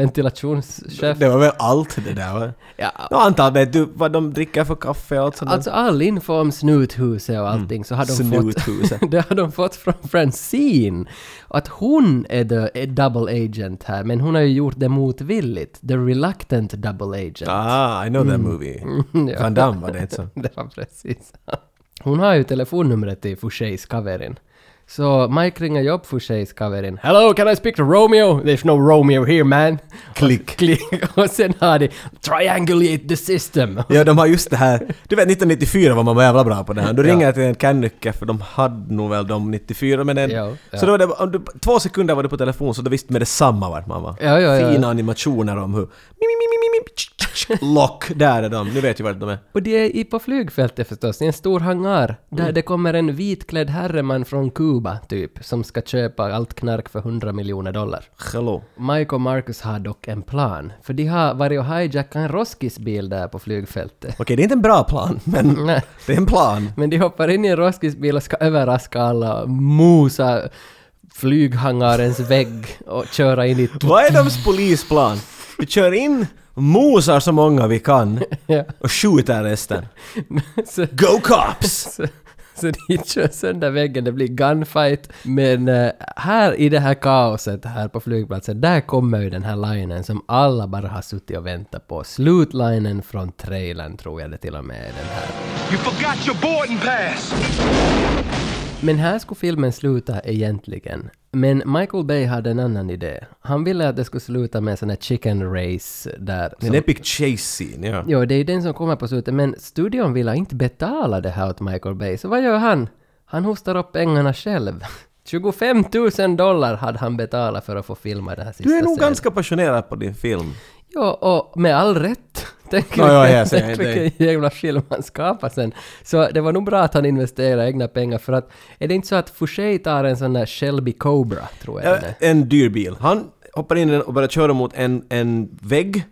[SPEAKER 2] ventilationschef?
[SPEAKER 1] Det var väl allt det där va?
[SPEAKER 2] Ja.
[SPEAKER 1] Nå, antar vet du vad de dricker för kaffe och allt sånt där.
[SPEAKER 2] Alltså all info om snuthuset
[SPEAKER 1] Mm.
[SPEAKER 2] och allting så har de
[SPEAKER 1] Snuthuset.
[SPEAKER 2] fått... det har de fått från Francine. Att hon är the är double agent här, men hon har ju gjort det motvilligt. The reluctant double agent.
[SPEAKER 1] Ah, alltså. I know that movie.
[SPEAKER 2] Mm. ja.
[SPEAKER 1] Van Damme var det inte så?
[SPEAKER 2] det var precis han. Hon har ju telefonnumret till Fouchés kaverin. Så Mike ringer ju upp Fouchés kaverin. “Hello, can I speak to Romeo? There's no Romeo here man!”
[SPEAKER 1] Klick.
[SPEAKER 2] Och, klick. och sen har de “Triangulate the system!”
[SPEAKER 1] Ja, de har just det här. Du vet 1994 var man var jävla bra på det här. Då
[SPEAKER 2] Ja.
[SPEAKER 1] ringer jag till en kännycke för de hade nog väl de 94 men en,
[SPEAKER 2] Ja, ja.
[SPEAKER 1] Så då var det, om du, två sekunder var du på telefon så då visste man detsamma vart man var.
[SPEAKER 2] Ja, ja, ja.
[SPEAKER 1] Fina animationer om hur... mi, mi, mi, mi, mi, tsch, tsch, tsch, Lock, där är de. Nu vet ju vart de är.
[SPEAKER 2] Och det är i- på flygfältet förstås, i en stor hangar, där det kommer en vitklädd herreman från Kuba, typ, som ska köpa allt knark för 100 miljoner dollar.
[SPEAKER 1] Hello.
[SPEAKER 2] Mike och Marcus har dock en plan, för de har varit och hijackat en Roskis-bil där på flygfältet.
[SPEAKER 1] Okej, det är inte en bra plan, men
[SPEAKER 2] Nej.
[SPEAKER 1] det är en plan.
[SPEAKER 2] Men de hoppar in i en Roskis-bil och ska överraska alla, mosa flyghangarens vägg och köra in i...
[SPEAKER 1] Vad är deras polisplan? Vi kör in, mosar så många vi kan
[SPEAKER 2] Ja.
[SPEAKER 1] och skjuter resten.
[SPEAKER 2] Så-
[SPEAKER 1] Go cops!
[SPEAKER 2] så, Så de kör sönder väggen, det blir gunfight. Men eh, här i det här kaoset här på flygplatsen, där kommer ju den här linen som alla bara har suttit och väntat på. Slutlinen från trailern tror jag det till och med är den här.
[SPEAKER 5] You forgot your boarding pass.
[SPEAKER 2] Men här skulle filmen sluta egentligen. Men Michael Bay hade en annan idé. Han ville att det skulle sluta med en sån här chicken race där.
[SPEAKER 1] En epic chase scene, ja.
[SPEAKER 2] Jo, det är den som kommer på slutet. Men studion ville inte betala det här åt Michael Bay. Så vad gör han? Han hostar upp pengarna själv. 25 000 dollar hade han betalat för att få filma den här sista
[SPEAKER 1] Du är nog
[SPEAKER 2] scenen.
[SPEAKER 1] ganska passionerad på din film.
[SPEAKER 2] Jo, och med all rätt. Tänk
[SPEAKER 1] Nå, ja, jag säger
[SPEAKER 2] tänk
[SPEAKER 1] det.
[SPEAKER 2] vilken jävla film han skapar sen. Så det var nog bra att han investerade egna pengar för att är det inte så att Fouché tar en sån där Shelby Cobra, tror jag
[SPEAKER 1] Ja,
[SPEAKER 2] den är?
[SPEAKER 1] Eh, en dyr bil. Han hoppar in i den och börjar köra mot en, en vägg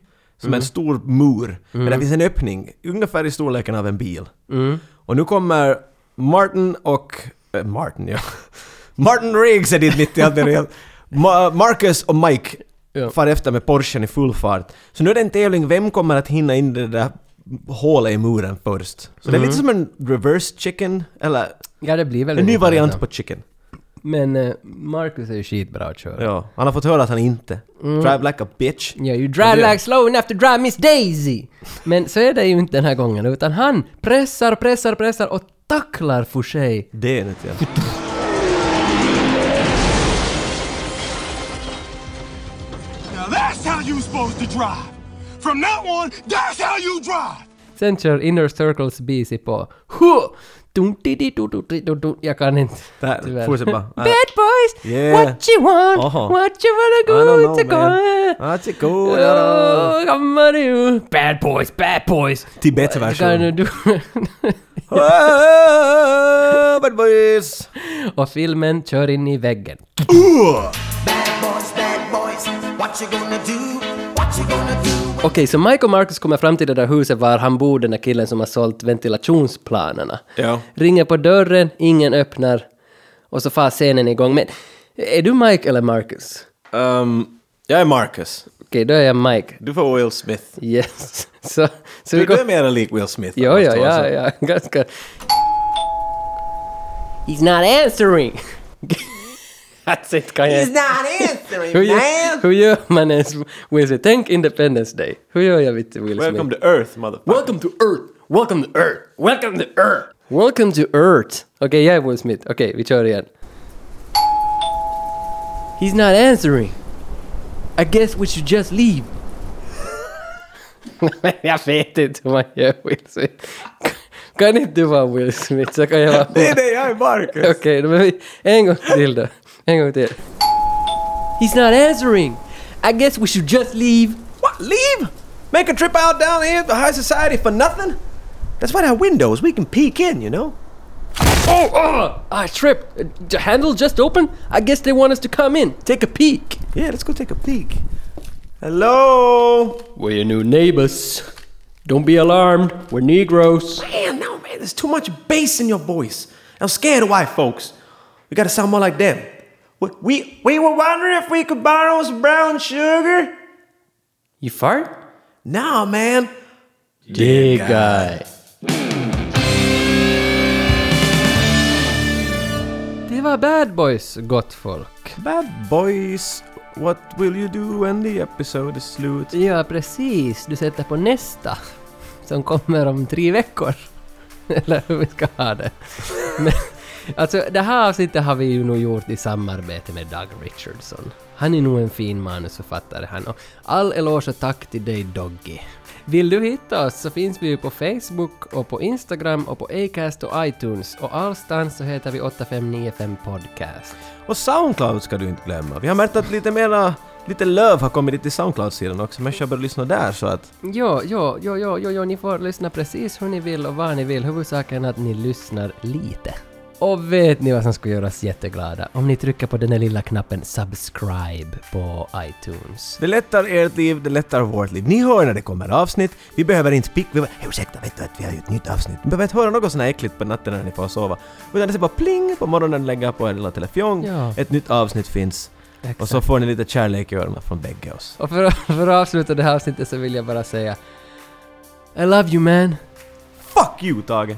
[SPEAKER 1] som är en
[SPEAKER 2] Mm.
[SPEAKER 1] stor mur. Men där
[SPEAKER 2] Mm.
[SPEAKER 1] finns en öppning, ungefär i storleken av en bil.
[SPEAKER 2] Mm.
[SPEAKER 1] Och nu kommer Martin och... Äh, Martin, ja. Martin Riggs är dit mitt i allt det där. Ma- Marcus och Mike far efter med Porschen i full fart. Så nu är det en tävling, vem kommer att hinna in i det där hålet i muren först? Så det är
[SPEAKER 2] Mm.
[SPEAKER 1] lite som en reverse chicken, eller...
[SPEAKER 2] Ja, det blir väl
[SPEAKER 1] En ny
[SPEAKER 2] ungefär
[SPEAKER 1] variant
[SPEAKER 2] så.
[SPEAKER 1] på chicken.
[SPEAKER 2] Men eh, Marcus är ju skitbra att köra.
[SPEAKER 1] Ja, han har fått höra att han inte.
[SPEAKER 2] Mm.
[SPEAKER 1] Drive like a bitch.
[SPEAKER 2] Ja, you drive
[SPEAKER 1] Men det-
[SPEAKER 2] like slow enough to drive Miss Daisy! Men så är det ju inte den här gången, utan han pressar, pressar, pressar och tacklar Fouché.
[SPEAKER 1] Det är det inte, ja.
[SPEAKER 15] Now that's how you supposed to drive. From now on, that's how you drive.
[SPEAKER 2] Sen kör Inner Circles BC på. Huh! Dun, di, di, du, du, di, du, du. Jag kan inte.
[SPEAKER 1] Där,
[SPEAKER 2] tyvärr.
[SPEAKER 1] fortsätt bara.
[SPEAKER 2] Bad boys!
[SPEAKER 1] Yeah.
[SPEAKER 2] What you want?
[SPEAKER 1] Oho.
[SPEAKER 2] What you wanna
[SPEAKER 1] I don't
[SPEAKER 2] go
[SPEAKER 1] know,
[SPEAKER 2] to go?
[SPEAKER 1] man. Ah, det är god, ja, då.
[SPEAKER 2] Oh, come on you. Bad boys, bad boys!
[SPEAKER 1] Tibet-version.
[SPEAKER 2] Kan du-
[SPEAKER 1] Ah, Bad boys!
[SPEAKER 2] Och filmen kör in i väggen.
[SPEAKER 15] Boys, bad boys, what you gonna do? What you gonna do?
[SPEAKER 2] Okej, så Mike och Marcus kommer fram till det där huset var han bor, den där killen som har sålt ventilationsplanerna.
[SPEAKER 1] Ja.
[SPEAKER 2] Ringer på dörren, ingen öppnar. Och så far scenen igång. Men är du Mike eller Marcus?
[SPEAKER 1] Um, jag är Marcus.
[SPEAKER 2] Okej, då är jag Mike.
[SPEAKER 1] Du får Will Smith.
[SPEAKER 2] Yes. Så, så
[SPEAKER 1] Du,
[SPEAKER 2] vi
[SPEAKER 1] du
[SPEAKER 2] går...
[SPEAKER 1] är mera lik Will Smith.
[SPEAKER 2] Jo,
[SPEAKER 1] än
[SPEAKER 2] ja,
[SPEAKER 1] oss två,
[SPEAKER 2] ja,
[SPEAKER 1] alltså.
[SPEAKER 2] ja, ganska... He's not answering! That's it, kan jag...
[SPEAKER 15] He's not answering, man!
[SPEAKER 2] hur, gör, hur gör man ens Will Smith? Tänk Independence Day. Hur gör jag vid Will Smith?
[SPEAKER 1] Welcome to Earth, motherfucker.
[SPEAKER 2] Welcome to Earth! Welcome to Earth! Welcome to Earth! Welcome to Earth! Okej, jag är Will Smith. Okej, vi kör igen. He's not answering. I guess we should just leave. jag vet inte hur man gör Will Smith. Kan inte du vara Will Smith så kan jag vara...
[SPEAKER 15] Nej, nej, jag är Marcus.
[SPEAKER 2] Okej, då men vi... en gång till då. En gång till. He's not answering. I guess we should just leave.
[SPEAKER 1] What? Leave? Make a trip out down here to high society for nothing? That's why there are windows. We can peek in, you know?
[SPEAKER 2] Oh, oh! I tripped. Uh, The handle just opened. I guess they want us to come in. Take a peek.
[SPEAKER 1] Yeah, let's go take a peek. Hello?
[SPEAKER 2] We're your new neighbors. Don't be alarmed. We're Negroes.
[SPEAKER 1] Man, no, man, there's too much bass in your voice. I'm scared of white folks. We gotta sound more like them. We, we, we were wondering if we could borrow some brown sugar.
[SPEAKER 2] You fart?
[SPEAKER 1] Nah, man.
[SPEAKER 2] Dig guy. Det var Bad Boys, gott folk.
[SPEAKER 1] Bad boys, what will you do when the episode is slut?
[SPEAKER 2] Ja, precis. Du sätter på nästa. Som kommer om tre veckor. Eller hur vi ska ha det. Men, alltså, det här avsnittet har vi ju nog gjort i samarbete med Doug Richardson. Han är nog en fin manusförfattare han. Och all eloge och tack till dig Doggy. Vill du hitta oss så finns vi ju på Facebook och på Instagram och på Acast och iTunes och allstans så heter vi 8595 Podcast.
[SPEAKER 1] Och Soundcloud ska du inte glömma. Vi har märkt att lite mera, lite löv har kommit dit till Soundcloud-sidan också. Människor har börjat lyssna där så att...
[SPEAKER 2] Ja, ja, ja, ja, ja, ja, ni får lyssna precis hur ni vill och var ni vill. Huvudsaken är att ni lyssnar lite. Och vet ni vad som skulle göra oss jätteglada? Om ni trycker på den där lilla knappen “Subscribe” på iTunes.
[SPEAKER 1] Det lättar ert liv, det lättar vårt liv. Ni hör när det kommer avsnitt. Vi behöver inte pick... Vi bara, "Hej, ursäkta, vet du att vi har ju ett nytt avsnitt? Ni behöver inte höra något sånt här äckligt på natten när ni får sova. Utan det är bara pling på morgonen, lägga på er lilla telefon.
[SPEAKER 2] Ja.
[SPEAKER 1] Ett nytt avsnitt finns. Och så får ni lite kärlek i öronen från bägge oss.
[SPEAKER 2] Och för, att- för att avsluta det här avsnittet så vill jag bara säga I love you man!
[SPEAKER 1] Fuck you, Tage!